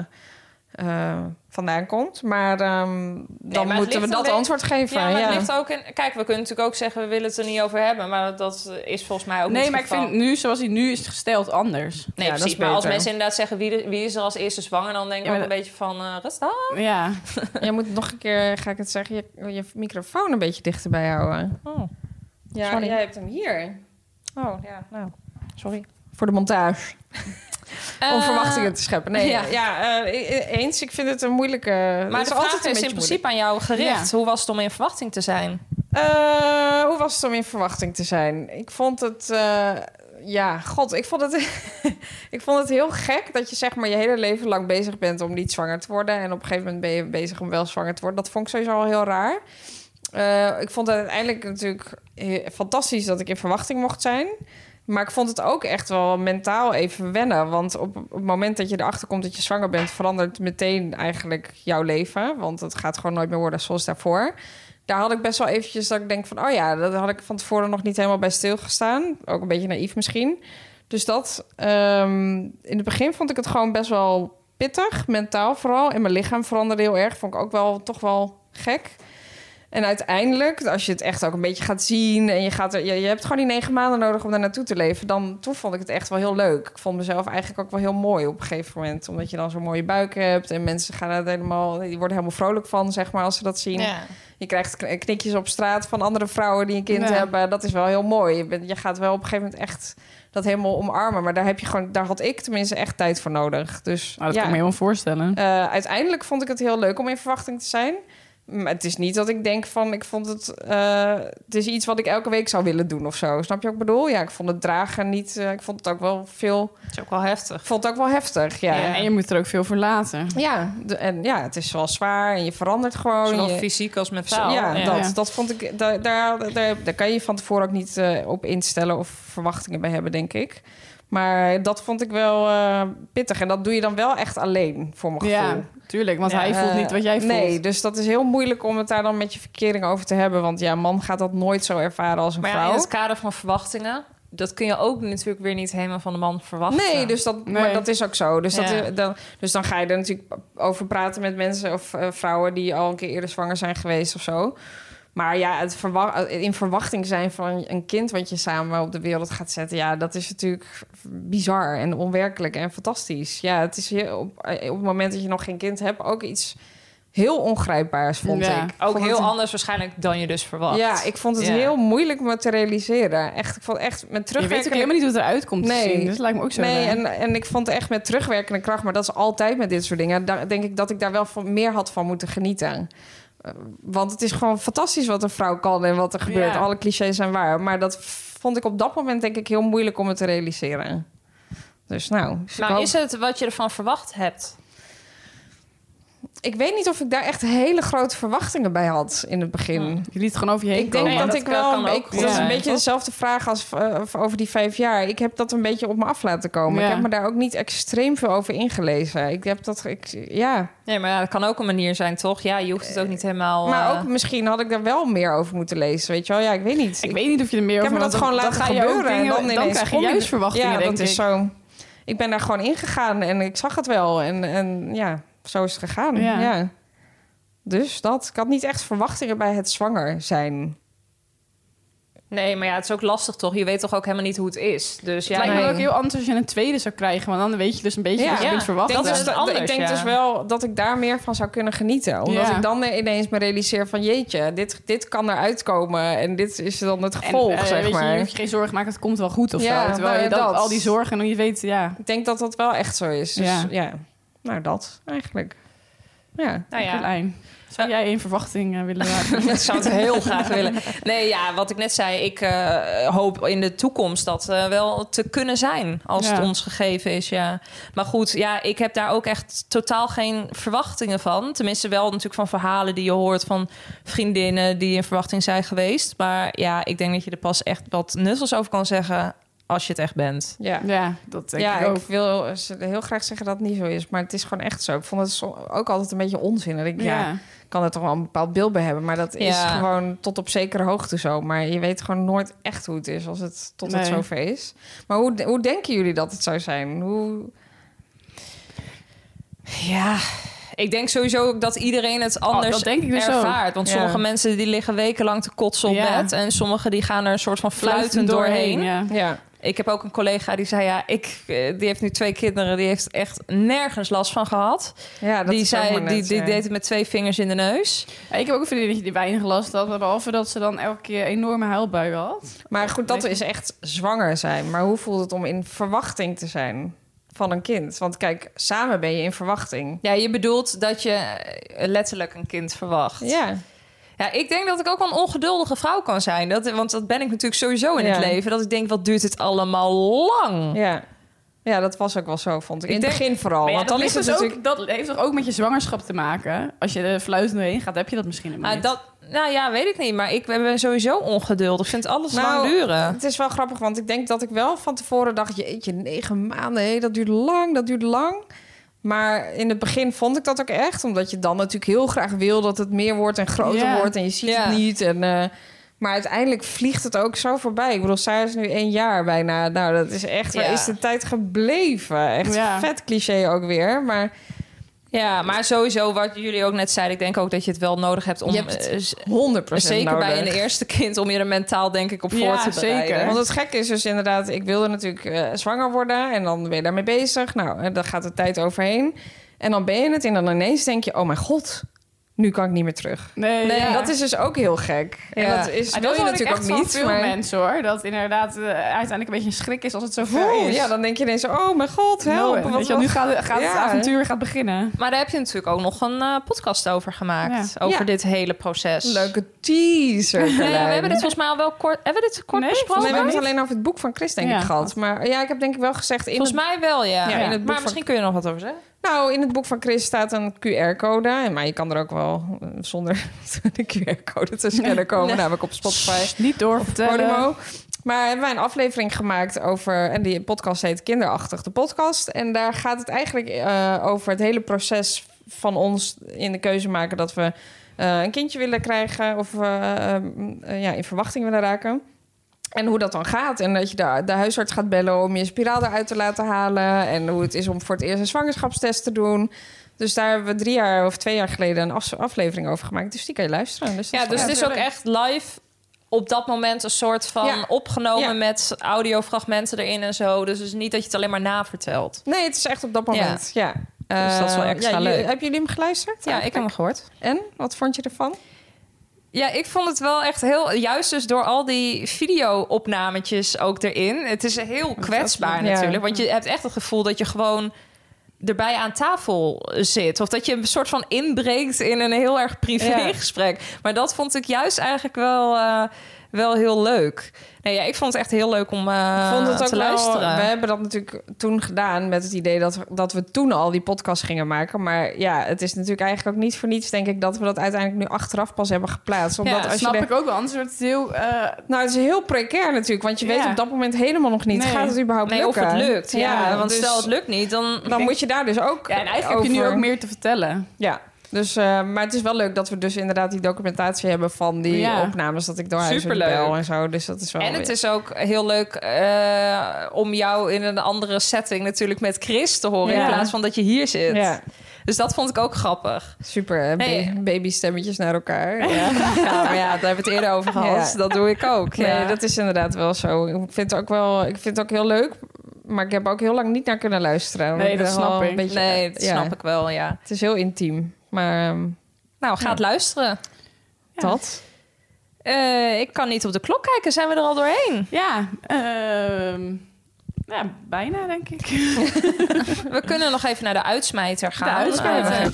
S4: eh, vandaan komt. Maar ehm, dan
S6: maar het
S4: moeten we
S6: ligt een
S4: dat
S6: be-
S4: antwoord geven.
S6: Ja,
S4: Ja,
S6: maar het ligt ook in... Kijk, we kunnen natuurlijk ook zeggen... we willen het er niet over hebben. Maar dat is volgens mij ook niet
S5: nee,
S6: het
S5: maar ik
S6: geval.
S5: vind nu, zoals hij nu is gesteld, anders.
S6: Nee,
S4: Ja, dat
S6: precies.
S4: is
S6: Maar als
S4: beter.
S6: mensen inderdaad zeggen... wie, de- wie is er als eerste zwanger... dan denk ik
S5: Ja, maar
S6: ook een beetje van... eh, rustig.
S5: Ja, Oh,
S4: Je moet nog een keer, ga ik het zeggen, je, je microfoon een beetje dichterbij houden.
S6: Oh.
S4: Ja,
S6: Sorry.
S4: jij hebt hem hier.
S6: Oh, ja, nou.
S4: Sorry. Voor de montage.
S6: eh.
S4: Om verwachtingen te scheppen. Nee,
S6: ja.
S4: ja, eh, e- e- eens. Ik vind het een moeilijke... het
S6: Maar
S4: is
S6: de
S4: altijd
S6: vraag
S4: een
S6: is
S4: beetje
S6: in principe aan jou gericht. Hoe was het om in verwachting te zijn?
S4: Eh, hoe was het om in verwachting te zijn? Ik vond het. eh, ja, god, ik vond het. <laughs> ik vond het heel gek dat je zeg maar je hele leven lang bezig bent om niet zwanger te worden. En op een gegeven moment ben je bezig om wel zwanger te worden. Dat vond ik sowieso al heel raar. Eh, ik vond het uiteindelijk natuurlijk he- fantastisch dat ik in verwachting mocht zijn. Maar ik vond het ook echt wel mentaal even wennen. Want op, op het moment dat je erachter komt dat je zwanger bent, verandert meteen eigenlijk jouw leven. Want het gaat gewoon nooit meer worden zoals daarvoor. Daar had ik best wel eventjes dat ik denk van, oh ja, dat had ik van tevoren nog niet helemaal bij stilgestaan. Ook een beetje naïef misschien. Dus dat, ehm, in het begin vond ik het gewoon best wel pittig, mentaal vooral. En mijn lichaam veranderde heel erg, vond ik ook wel toch wel gek. En uiteindelijk, als je het echt ook een beetje gaat zien en je, gaat er, je, je hebt gewoon die negen maanden nodig om daar naartoe te leven, dan toen vond ik het echt wel heel leuk. Ik vond mezelf eigenlijk ook wel heel mooi op een gegeven moment, omdat je dan zo'n mooie buik hebt en mensen gaan het helemaal, die worden helemaal vrolijk van, zeg maar, als ze dat zien.
S6: Ja.
S4: Je krijgt kn- knikjes op straat van andere vrouwen die een kind
S5: Ja.
S4: hebben. Dat is wel heel mooi. Je, bent, je gaat wel op een gegeven moment echt dat helemaal omarmen. Maar daar, heb je gewoon, daar had ik tenminste echt tijd voor nodig. Dus
S5: Nou, dat
S4: ja.
S5: kan ik me helemaal voorstellen.
S4: Eh, uiteindelijk vond ik het heel leuk om in verwachting te zijn. Maar het is niet dat ik denk van, ik vond het... eh, het is iets wat ik elke week zou willen doen of zo. Snap je wat ik bedoel? Ja, ik vond het dragen niet... eh, ik vond het ook wel veel...
S6: Het is ook wel heftig.
S4: Ik vond het ook wel heftig, ja.
S5: Ja, En je moet er ook veel voor laten.
S4: Ja, de- en ja, het is wel zwaar en je verandert gewoon.
S6: Zowel
S4: je-
S6: fysiek als mentaal.
S4: ja,
S5: ja.
S4: Dat,
S5: Ja.
S4: dat vond ik. Daar, daar, daar, daar kan je van tevoren ook niet eh, op instellen of verwachtingen bij hebben, denk ik. Maar dat vond ik wel eh, pittig. En dat doe je dan wel echt alleen, voor mijn gevoel.
S5: Ja, tuurlijk. Want hij voelt
S4: Eh,
S5: niet wat jij voelt.
S4: Nee, dus dat is heel moeilijk om het daar dan met je verkering over te hebben. Want ja, een man gaat dat nooit zo ervaren als een
S6: Maar ja,
S4: vrouw.
S6: in het kader van verwachtingen, dat kun je ook natuurlijk weer niet helemaal van de man verwachten.
S4: Nee, dus dat, maar
S5: Nee.
S4: dat is ook zo. Dus, dat
S6: Ja.
S4: is- dan, dus dan ga je er natuurlijk over praten met mensen of eh, vrouwen die al een keer eerder zwanger zijn geweest of zo. Maar ja, het verwa- eh, in verwachting zijn van een kind wat je samen op de wereld gaat zetten, ja, dat is natuurlijk bizar en onwerkelijk en fantastisch. Ja, het is heel- op, eh, op het moment dat je nog geen kind hebt ook iets heel ongrijpbaars, vond
S5: Ja.
S4: ik.
S6: Ook
S4: Vond
S6: heel
S4: het-
S6: anders waarschijnlijk dan je dus verwacht.
S4: Ja, ik vond het
S6: Ja.
S4: heel moeilijk me te realiseren. Echt, ik vond echt met
S5: Je weet ook
S4: terugwerkende
S5: helemaal niet hoe het eruit komt te
S4: Nee.
S5: zien. Dus het lijkt me ook zo.
S4: Nee,
S5: raar.
S4: en, en ik vond echt met terugwerkende kracht, maar dat is altijd met dit soort dingen. Daar denk ik dat ik daar wel van, meer had van moeten genieten. Eh, want het is gewoon fantastisch wat een vrouw kan en wat er gebeurt.
S5: Ja.
S4: Alle clichés zijn waar. Maar dat vond ik op dat moment denk ik heel moeilijk om het te realiseren. Dus nou, dus ik,
S6: Nou,
S4: hoop-
S6: is het wat je ervan verwacht hebt?
S4: ik weet niet of ik daar echt hele grote verwachtingen bij had in het begin.
S5: Je liet het gewoon over je heen
S4: Ik denk
S5: komen.
S4: dat,
S6: dat
S4: ik
S6: kan-
S4: wel.
S6: kan ook
S4: ik,
S6: goed
S4: dat is een
S5: zijn,
S4: beetje
S6: toch?
S4: dezelfde vraag als eh, over die vijf jaar. Ik heb dat een beetje op me af laten komen. Ik
S5: Ja.
S4: heb me daar ook niet extreem veel over ingelezen. Ik heb dat. Ik, ja.
S6: Nee, maar ja, dat kan ook een manier zijn, toch? Ja, je hoeft het ook niet
S5: Oh.
S6: helemaal...
S4: Maar
S6: eh,
S4: ook misschien had ik daar wel meer over moeten lezen. Weet je wel? Ja, ik weet niet.
S5: Ik weet niet of je er meer
S4: Ik
S5: over
S4: heb me dat
S5: want
S4: gewoon
S5: dan-
S4: laten
S5: dan ga je ook
S4: gebeuren. en
S5: dingen-
S4: dan, ineens
S5: krijg je
S4: kom
S5: juist verwachtingen,
S4: Ja,
S5: denk
S4: dat
S5: ik.
S4: is zo. Ik ben daar gewoon ingegaan en ik zag het wel. En, en ja, zo is het gegaan. Ja.
S5: Ja.
S4: Dus dat. Ik had niet echt verwachtingen bij het zwanger zijn.
S6: Nee, maar ja, het is ook lastig, toch? Je weet toch ook helemaal niet hoe het is? Dus ja,
S5: het lijkt
S6: nee.
S5: me ook heel anders als je een tweede zou krijgen. Want dan weet je dus een beetje
S4: Ja.
S5: wat je
S6: Ja.
S5: kunt verwachten. eh,
S6: Dat
S4: Dat
S6: is
S4: is
S6: het
S4: ik
S6: anders,
S4: denk
S6: ja.
S4: dus wel dat ik daar meer van zou kunnen genieten. Omdat
S5: Ja.
S4: ik dan ineens me realiseer van... jeetje, dit, dit kan eruit komen en dit is dan het
S5: En,
S4: gevolg,
S5: eh,
S4: zeg
S5: weet
S4: maar.
S5: Je, je hoeft je geen zorgen maken, het komt wel goed of
S4: Ja,
S5: zo. Terwijl
S4: nou
S5: je
S4: ja,
S5: dat,
S4: dat.
S5: al die zorgen en dan je weet, ja.
S4: Ik denk dat dat wel echt zo is. Dus ja,
S5: Ja.
S4: nou dat eigenlijk. Ja.
S6: Nou
S5: <laughs>
S6: ja.
S5: Carlijn, zou jij een verwachting eh, willen
S4: <laughs>
S5: maken?
S6: Ik zou het heel graag willen. Nee, ja, wat ik net zei, ik eh, hoop in de toekomst dat eh, wel te kunnen zijn als
S5: Ja.
S6: het ons gegeven is. Ja. Maar goed, ja, ik heb daar ook echt totaal geen verwachtingen van. Tenminste, wel natuurlijk van verhalen die je hoort van vriendinnen die in verwachting zijn geweest. Maar ja, ik denk dat je er pas echt wat nuttels over kan zeggen als je het echt bent.
S4: Ja.
S5: ja, dat denk
S4: ja,
S5: ik ook.
S4: ik wil eh, heel graag zeggen dat het niet zo is, maar het is gewoon echt zo. Ik vond het so- ook altijd een beetje onzin. Dat ik, ja.
S5: ja.
S4: ik kan er toch wel een bepaald beeld bij hebben, maar dat is
S6: Ja.
S4: gewoon tot op zekere hoogte zo. Maar je weet gewoon nooit echt hoe het is als het tot het
S5: Nee.
S4: zover is. Maar hoe, de- hoe denken jullie dat het zou zijn? Hoe,
S6: <laughs> Ja, ik denk sowieso ook dat iedereen het anders
S5: Oh, dat denk ik dus ook.
S6: ervaart. Want
S4: Ja.
S6: sommige mensen die liggen wekenlang te kotsen op
S5: Ja.
S6: bed. En sommigen die gaan er een soort van fluitend doorheen.
S5: ja.
S4: ja.
S6: Ik heb ook een collega die zei... ja, ik, eh, die heeft nu twee kinderen. Die heeft echt nergens last van gehad.
S4: ja dat
S6: die
S4: is ook
S6: zei,
S4: maar net, eh,
S6: die, die
S4: ja.
S6: deed het met twee vingers in de neus.
S5: Ja, Ik heb ook een vriendinnetje die weinig last had. Behalve dat ze dan elke keer enorme huilbuien had.
S4: Maar goed, dat is echt zwanger zijn. Maar hoe voelt het om in verwachting te zijn van een kind? Want kijk, samen ben je in verwachting.
S6: Ja, je bedoelt dat je eh, letterlijk een kind verwacht.
S4: Ja,
S6: Ja, ik denk dat ik ook wel een ongeduldige vrouw kan zijn. Dat, want dat ben ik natuurlijk sowieso in
S4: Ja.
S6: het leven. Dat ik denk, wat duurt het allemaal lang?
S4: ja. Ja, dat was ook wel zo, vond ik. In
S6: Ik
S4: het
S6: denk-
S4: begin vooral.
S5: Maar ja,
S4: Oh, want dan
S5: dat
S4: is
S5: ligt
S4: het
S5: dus
S4: natuurlijk...
S5: ook, dat heeft toch ook met je zwangerschap te maken? Als je er fluitend doorheen gaat, heb je dat misschien helemaal
S6: Ah,
S5: niet.
S6: dat, Nou ja, weet ik niet. Maar ik ben sowieso ongeduldig. Ik vind alles
S4: Nou,
S6: lang duren.
S4: Het is wel grappig, want ik denk dat ik wel van tevoren dacht... jeetje, negen maanden, hé, dat duurt lang, dat duurt lang. Maar in het begin vond ik dat ook echt. Omdat je dan natuurlijk heel graag wil dat het meer wordt en groter
S5: Ja.
S4: wordt. En je ziet
S6: Ja.
S4: het niet. En, eh, maar uiteindelijk vliegt het ook zo voorbij. Ik bedoel, zij is nu één jaar bijna. Nou, dat is echt... Waar
S6: Ja.
S4: is de tijd gebleven? Echt
S5: Ja.
S4: vet cliché ook weer. Maar
S6: Ja, maar sowieso wat jullie ook net zeiden. Ik denk ook dat je het wel nodig hebt om...
S4: Je hebt het
S6: eh, z-
S4: 100
S6: zeker bij
S4: nodig.
S6: een eerste kind om je er mentaal denk ik op
S5: Ja,
S6: voor te bereiden.
S5: zeker.
S6: Want
S4: Want het gekke is dus inderdaad, ik wilde natuurlijk eh, zwanger worden en dan ben je daarmee bezig. Nou, en dan gaat de tijd overheen. En dan ben je het en dan ineens denk je, oh mijn god, nu kan ik niet meer terug.
S5: Nee,
S4: Nee,
S5: ja.
S4: dat is dus ook heel gek. En
S6: Ja.
S4: dat is,
S5: Maar
S4: wil
S5: dat
S4: je
S5: hoor ik
S4: natuurlijk
S5: echt
S4: ook
S5: van
S4: niet.
S5: veel
S4: maar,
S5: mensen hoor. Dat inderdaad eh, uiteindelijk een beetje een schrik is als het zo ver
S4: Oeh,
S5: is.
S4: ja, dan denk je ineens, oh mijn god, help.
S5: Nou,
S4: wat-
S5: weet je, wel, nu gaat, gaat het
S4: Ja.
S5: avontuur gaat beginnen.
S6: Maar daar heb je natuurlijk ook nog een eh, podcast over gemaakt.
S5: Ja.
S6: Over
S4: Ja.
S6: dit hele proces.
S4: Leuke teaser.
S6: Ja, we
S4: Carlijn.
S6: hebben dit volgens mij al wel kort... Hebben we dit kort
S5: Nee,
S6: besproken?
S4: Nee,
S5: volgens mij
S4: we hebben het alleen over het boek van Chris, denk
S5: Ja.
S4: ik, gehad. Maar ja, ik heb denk ik wel gezegd... In het
S6: Volgens mij wel, ja.
S4: Ja, in het boek
S6: maar
S4: van-
S6: misschien kun je er nog wat over zeggen.
S4: Nou, in het boek van Chris staat een QR-code. En- Maar je kan er ook wel eh, zonder <laughs> de QR-code te scannen komen. Namelijk op Spotify.
S5: Pst, Niet doorvertellen.
S4: Podimo. Maar hebben wij een aflevering gemaakt over... en die podcast heet Kinderachtig, de podcast. En daar gaat het eigenlijk eh, over het hele proces van ons... in de keuze maken dat we eh, een kindje willen krijgen... of eh, eh, eh, ja, in verwachting willen raken. En hoe dat dan gaat. En dat je de, de huisarts gaat bellen om je spiraal eruit te laten halen. En hoe het is om voor het eerst een zwangerschapstest te doen. Dus daar hebben we drie jaar of twee jaar geleden een af- aflevering over gemaakt. Dus die kan je luisteren. Dus dat
S6: Ja,
S4: is
S6: dus
S4: wel-
S6: het is ook echt live op dat moment een soort van
S4: Ja.
S6: opgenomen
S4: Ja.
S6: met audiofragmenten erin en zo. Dus het is niet dat je het alleen maar navertelt.
S4: Nee, het is echt op dat moment. Ja.
S6: Dus dat is wel
S4: Eh,
S6: extra
S4: ja, jullie-
S6: leuk.
S4: Hebben jullie hem geluisterd?
S6: Ja, ik heb hem gehoord.
S4: En wat vond je ervan?
S6: Ja, ik vond het wel echt heel... Juist dus door al die video-opnametjes ook erin. Het is heel kwetsbaar
S4: ja.
S6: natuurlijk. Want je hebt echt het gevoel dat je gewoon erbij aan tafel zit. Of dat je een soort van inbreekt in een heel erg privé
S4: Ja.
S6: gesprek. Maar dat vond ik juist eigenlijk wel, eh, wel heel leuk. Nee, ja, ik vond het echt heel leuk om eh,
S4: ik vond het ook
S6: te
S4: wel-
S6: luisteren.
S4: we hebben dat natuurlijk toen gedaan met het idee dat, dat we toen al die podcast gingen maken. Maar ja, het is natuurlijk eigenlijk ook niet voor niets, denk ik, dat we dat uiteindelijk nu achteraf pas hebben geplaatst. Omdat
S6: Ja,
S4: als
S5: Dat
S4: je
S5: snap
S4: denkt-
S5: ik ook wel. Anders wordt het heel... eh,
S4: Nou, het is heel precair natuurlijk, want je weet
S5: Ja.
S4: op dat moment helemaal nog niet.
S5: Nee.
S4: Gaat het überhaupt
S6: Nee, of
S4: lukken?
S6: het lukt. Ja, want
S4: dus
S6: stel het <laughs> lukt niet, dan...
S4: Dan moet je daar dus ook
S5: ja, en eigenlijk
S4: over.
S5: heb je nu ook meer te vertellen.
S4: Ja, dus, eh, maar het is wel leuk dat we dus inderdaad die documentatie hebben van die
S5: Ja.
S4: opnames. Dat ik door huis
S6: Superleuk.
S4: bel en zo. Dus dat is wel
S6: En het is ook heel leuk eh, om jou in een andere setting natuurlijk met Chris te horen.
S5: Ja.
S6: In plaats van dat je hier zit.
S4: Ja,
S6: Dus dat vond ik ook grappig.
S4: super. hè? Ba-
S6: Nee.
S4: Babystemmetjes naar elkaar.
S6: Ja, maar <laughs> ja, daar hebben we het eerder over gehad.
S4: Ja.
S6: Dat doe ik ook.
S4: Nee,
S6: <laughs> Ja.
S4: dat is inderdaad wel zo. Ik vind het ook wel, ik vind het ook heel leuk. Maar ik heb ook heel lang niet naar kunnen luisteren. Want
S5: Nee, dat
S4: ben wel
S5: snap
S4: een
S5: ik.
S4: beetje-
S6: nee, dat
S4: ja,
S6: snap ik wel, ja.
S4: Het is heel intiem. Maar ehm,
S6: Nou, ga het luisteren.
S4: dat.
S6: Eh, ik kan niet op de klok kijken. Zijn we er al doorheen?
S5: Ja, ehm, ja bijna denk ik.
S6: We kunnen nog even naar de uitsmijter gaan.
S5: uitsmijter.
S6: Eh,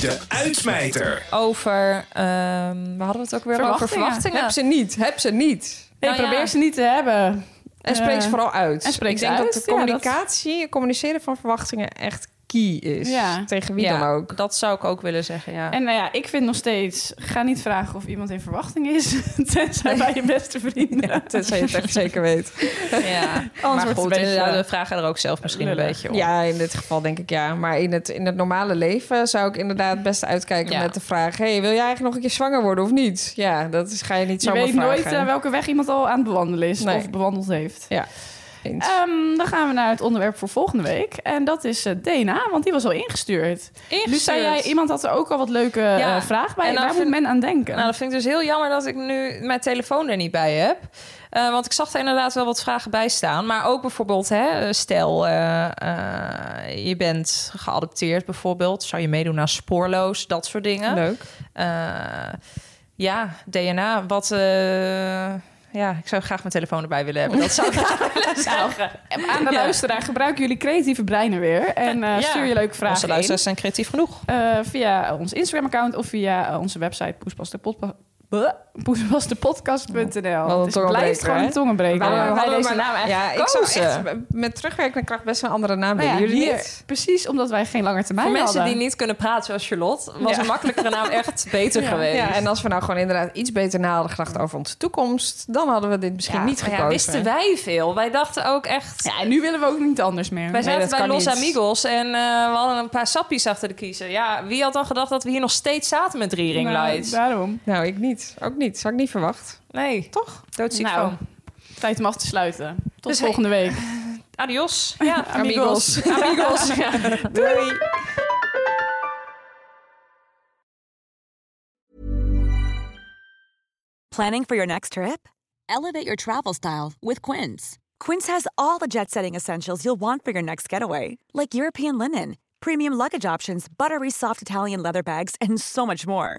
S3: De uitsmijter.
S6: over, ehm we hadden het ook weer over
S5: Verwachtingen.
S6: verwachtingen.
S4: Heb ze niet. Heb ze niet.
S5: Nee,
S6: Nou
S5: probeer
S6: ja.
S5: ze niet te hebben.
S4: En spreek ze
S5: Eh,
S4: vooral uit.
S5: en spreek
S4: ik
S5: ze
S4: denk
S5: uit,
S4: dat de
S5: ja, dat-
S4: communicatie, communiceren van verwachtingen echt key is.
S5: Ja.
S4: Tegen wie
S6: Ja,
S4: dan
S5: <laughs>
S4: ook.
S6: Dat zou ik ook willen zeggen, ja.
S5: En nou ja, ik vind nog steeds... Ga niet vragen of iemand in verwachting is. <laughs> Tenzij bij je beste
S4: <laughs>
S5: vrienden.
S4: Tenzij je het echt zeker
S5: <laughs>
S4: weet.
S6: <laughs> Ja,
S5: wordt
S6: maar
S5: het
S6: goed,
S5: een beetje,
S6: inderdaad,
S5: eh,
S6: we vragen er ook zelf misschien
S5: lullig.
S6: een beetje om.
S4: Ja, in dit geval denk ik ja. Maar in het, in het normale leven zou ik
S5: Mm.
S4: inderdaad best uitkijken
S6: Ja.
S4: met de vraag... hey, wil jij eigenlijk nog een keer zwanger worden of niet? Ja, dat is, ga je niet
S5: Je
S4: zomaar
S5: weet nooit
S4: vragen.
S5: eh, welke weg iemand al aan het bewandelen is.
S4: Nee.
S5: Of bewandeld heeft.
S4: Eens.
S5: Ehm, dan gaan we naar het onderwerp voor volgende week. En dat is eh, DNA, want die was al ingestuurd. Nu zei jij, iemand had er ook al wat leuke
S6: Ja.
S5: eh, vragen bij.
S6: En dan
S5: En daar moet
S6: vind-
S5: men aan denken.
S6: Nou, dat vind ik dus heel jammer dat ik nu mijn telefoon er niet bij heb. Eh, want ik zag er inderdaad wel wat vragen bij staan. Maar ook bijvoorbeeld, hè, eh, stel eh, eh, je bent geadopteerd bijvoorbeeld. Zou je meedoen aan spoorloos, dat soort dingen.
S4: Leuk.
S6: Eh, ja, DNA, wat... eh, ja, ik zou graag mijn telefoon erbij willen hebben. Dat zou
S4: <laughs>
S6: ik graag willen zeggen.
S5: En Ehm, aan de
S6: Ja.
S5: luisteraar, gebruik jullie creatieve breinen weer. En eh,
S6: Ja.
S5: stuur je leuke
S6: Onze
S5: vragen in.
S6: luisteraars zijn creatief genoeg.
S5: Eh, via ons Instagram-account of via eh, onze website poespastepodcast. poesmasdepodcast.nl.
S4: Wat een
S5: Het blijft
S4: tongenbreker,
S5: gewoon
S4: hè?
S5: een tongenbreker.
S4: Maar
S5: Waarom wij
S4: hadden we
S5: deze
S4: maar-
S5: naam eigenlijk
S4: Ja, ik zou
S5: gekozen?
S4: echt met terugwerkende kracht best een andere naam
S5: Nou
S4: willen.
S5: ja,
S4: Jullie
S5: hier-
S4: niet?
S5: Precies omdat wij geen langer termijn
S6: Voor mensen
S5: hadden.
S6: die niet kunnen praten zoals Charlotte... was
S4: Ja.
S6: een makkelijkere naam echt beter geweest.
S4: Ja, en als we nou gewoon inderdaad iets beter na hadden gedacht over onze toekomst... dan hadden we dit misschien
S6: Ja,
S4: niet
S5: Oh
S6: maar ja,
S4: gekozen.
S6: wisten wij veel. Wij dachten ook echt...
S5: Ja, en nu willen we ook niet anders meer.
S6: Wij zaten
S4: dat
S6: bij
S4: kan
S6: Los
S4: niet.
S6: Amigos en eh, we hadden een paar sappies achter de kiezer. Ja, wie had dan gedacht dat we hier nog steeds zaten met drie ringlights?
S5: Nou, daarom.
S4: Nou, ik niet. Ook niet. Had ik niet verwacht.
S6: nee, toch? Doodziek
S5: Nou,
S6: van.
S5: tijd om af te sluiten. Tot
S6: Dus
S5: volgende week.
S6: Adios. Ja,
S5: amigos.
S6: Amigos. Doei.
S7: Planning for your next trip? Elevate your travel style with Quince. Quince has all the jet setting essentials you'll want for your next getaway, like European linen, premium luggage options, buttery soft Italian leather bags, and so much more.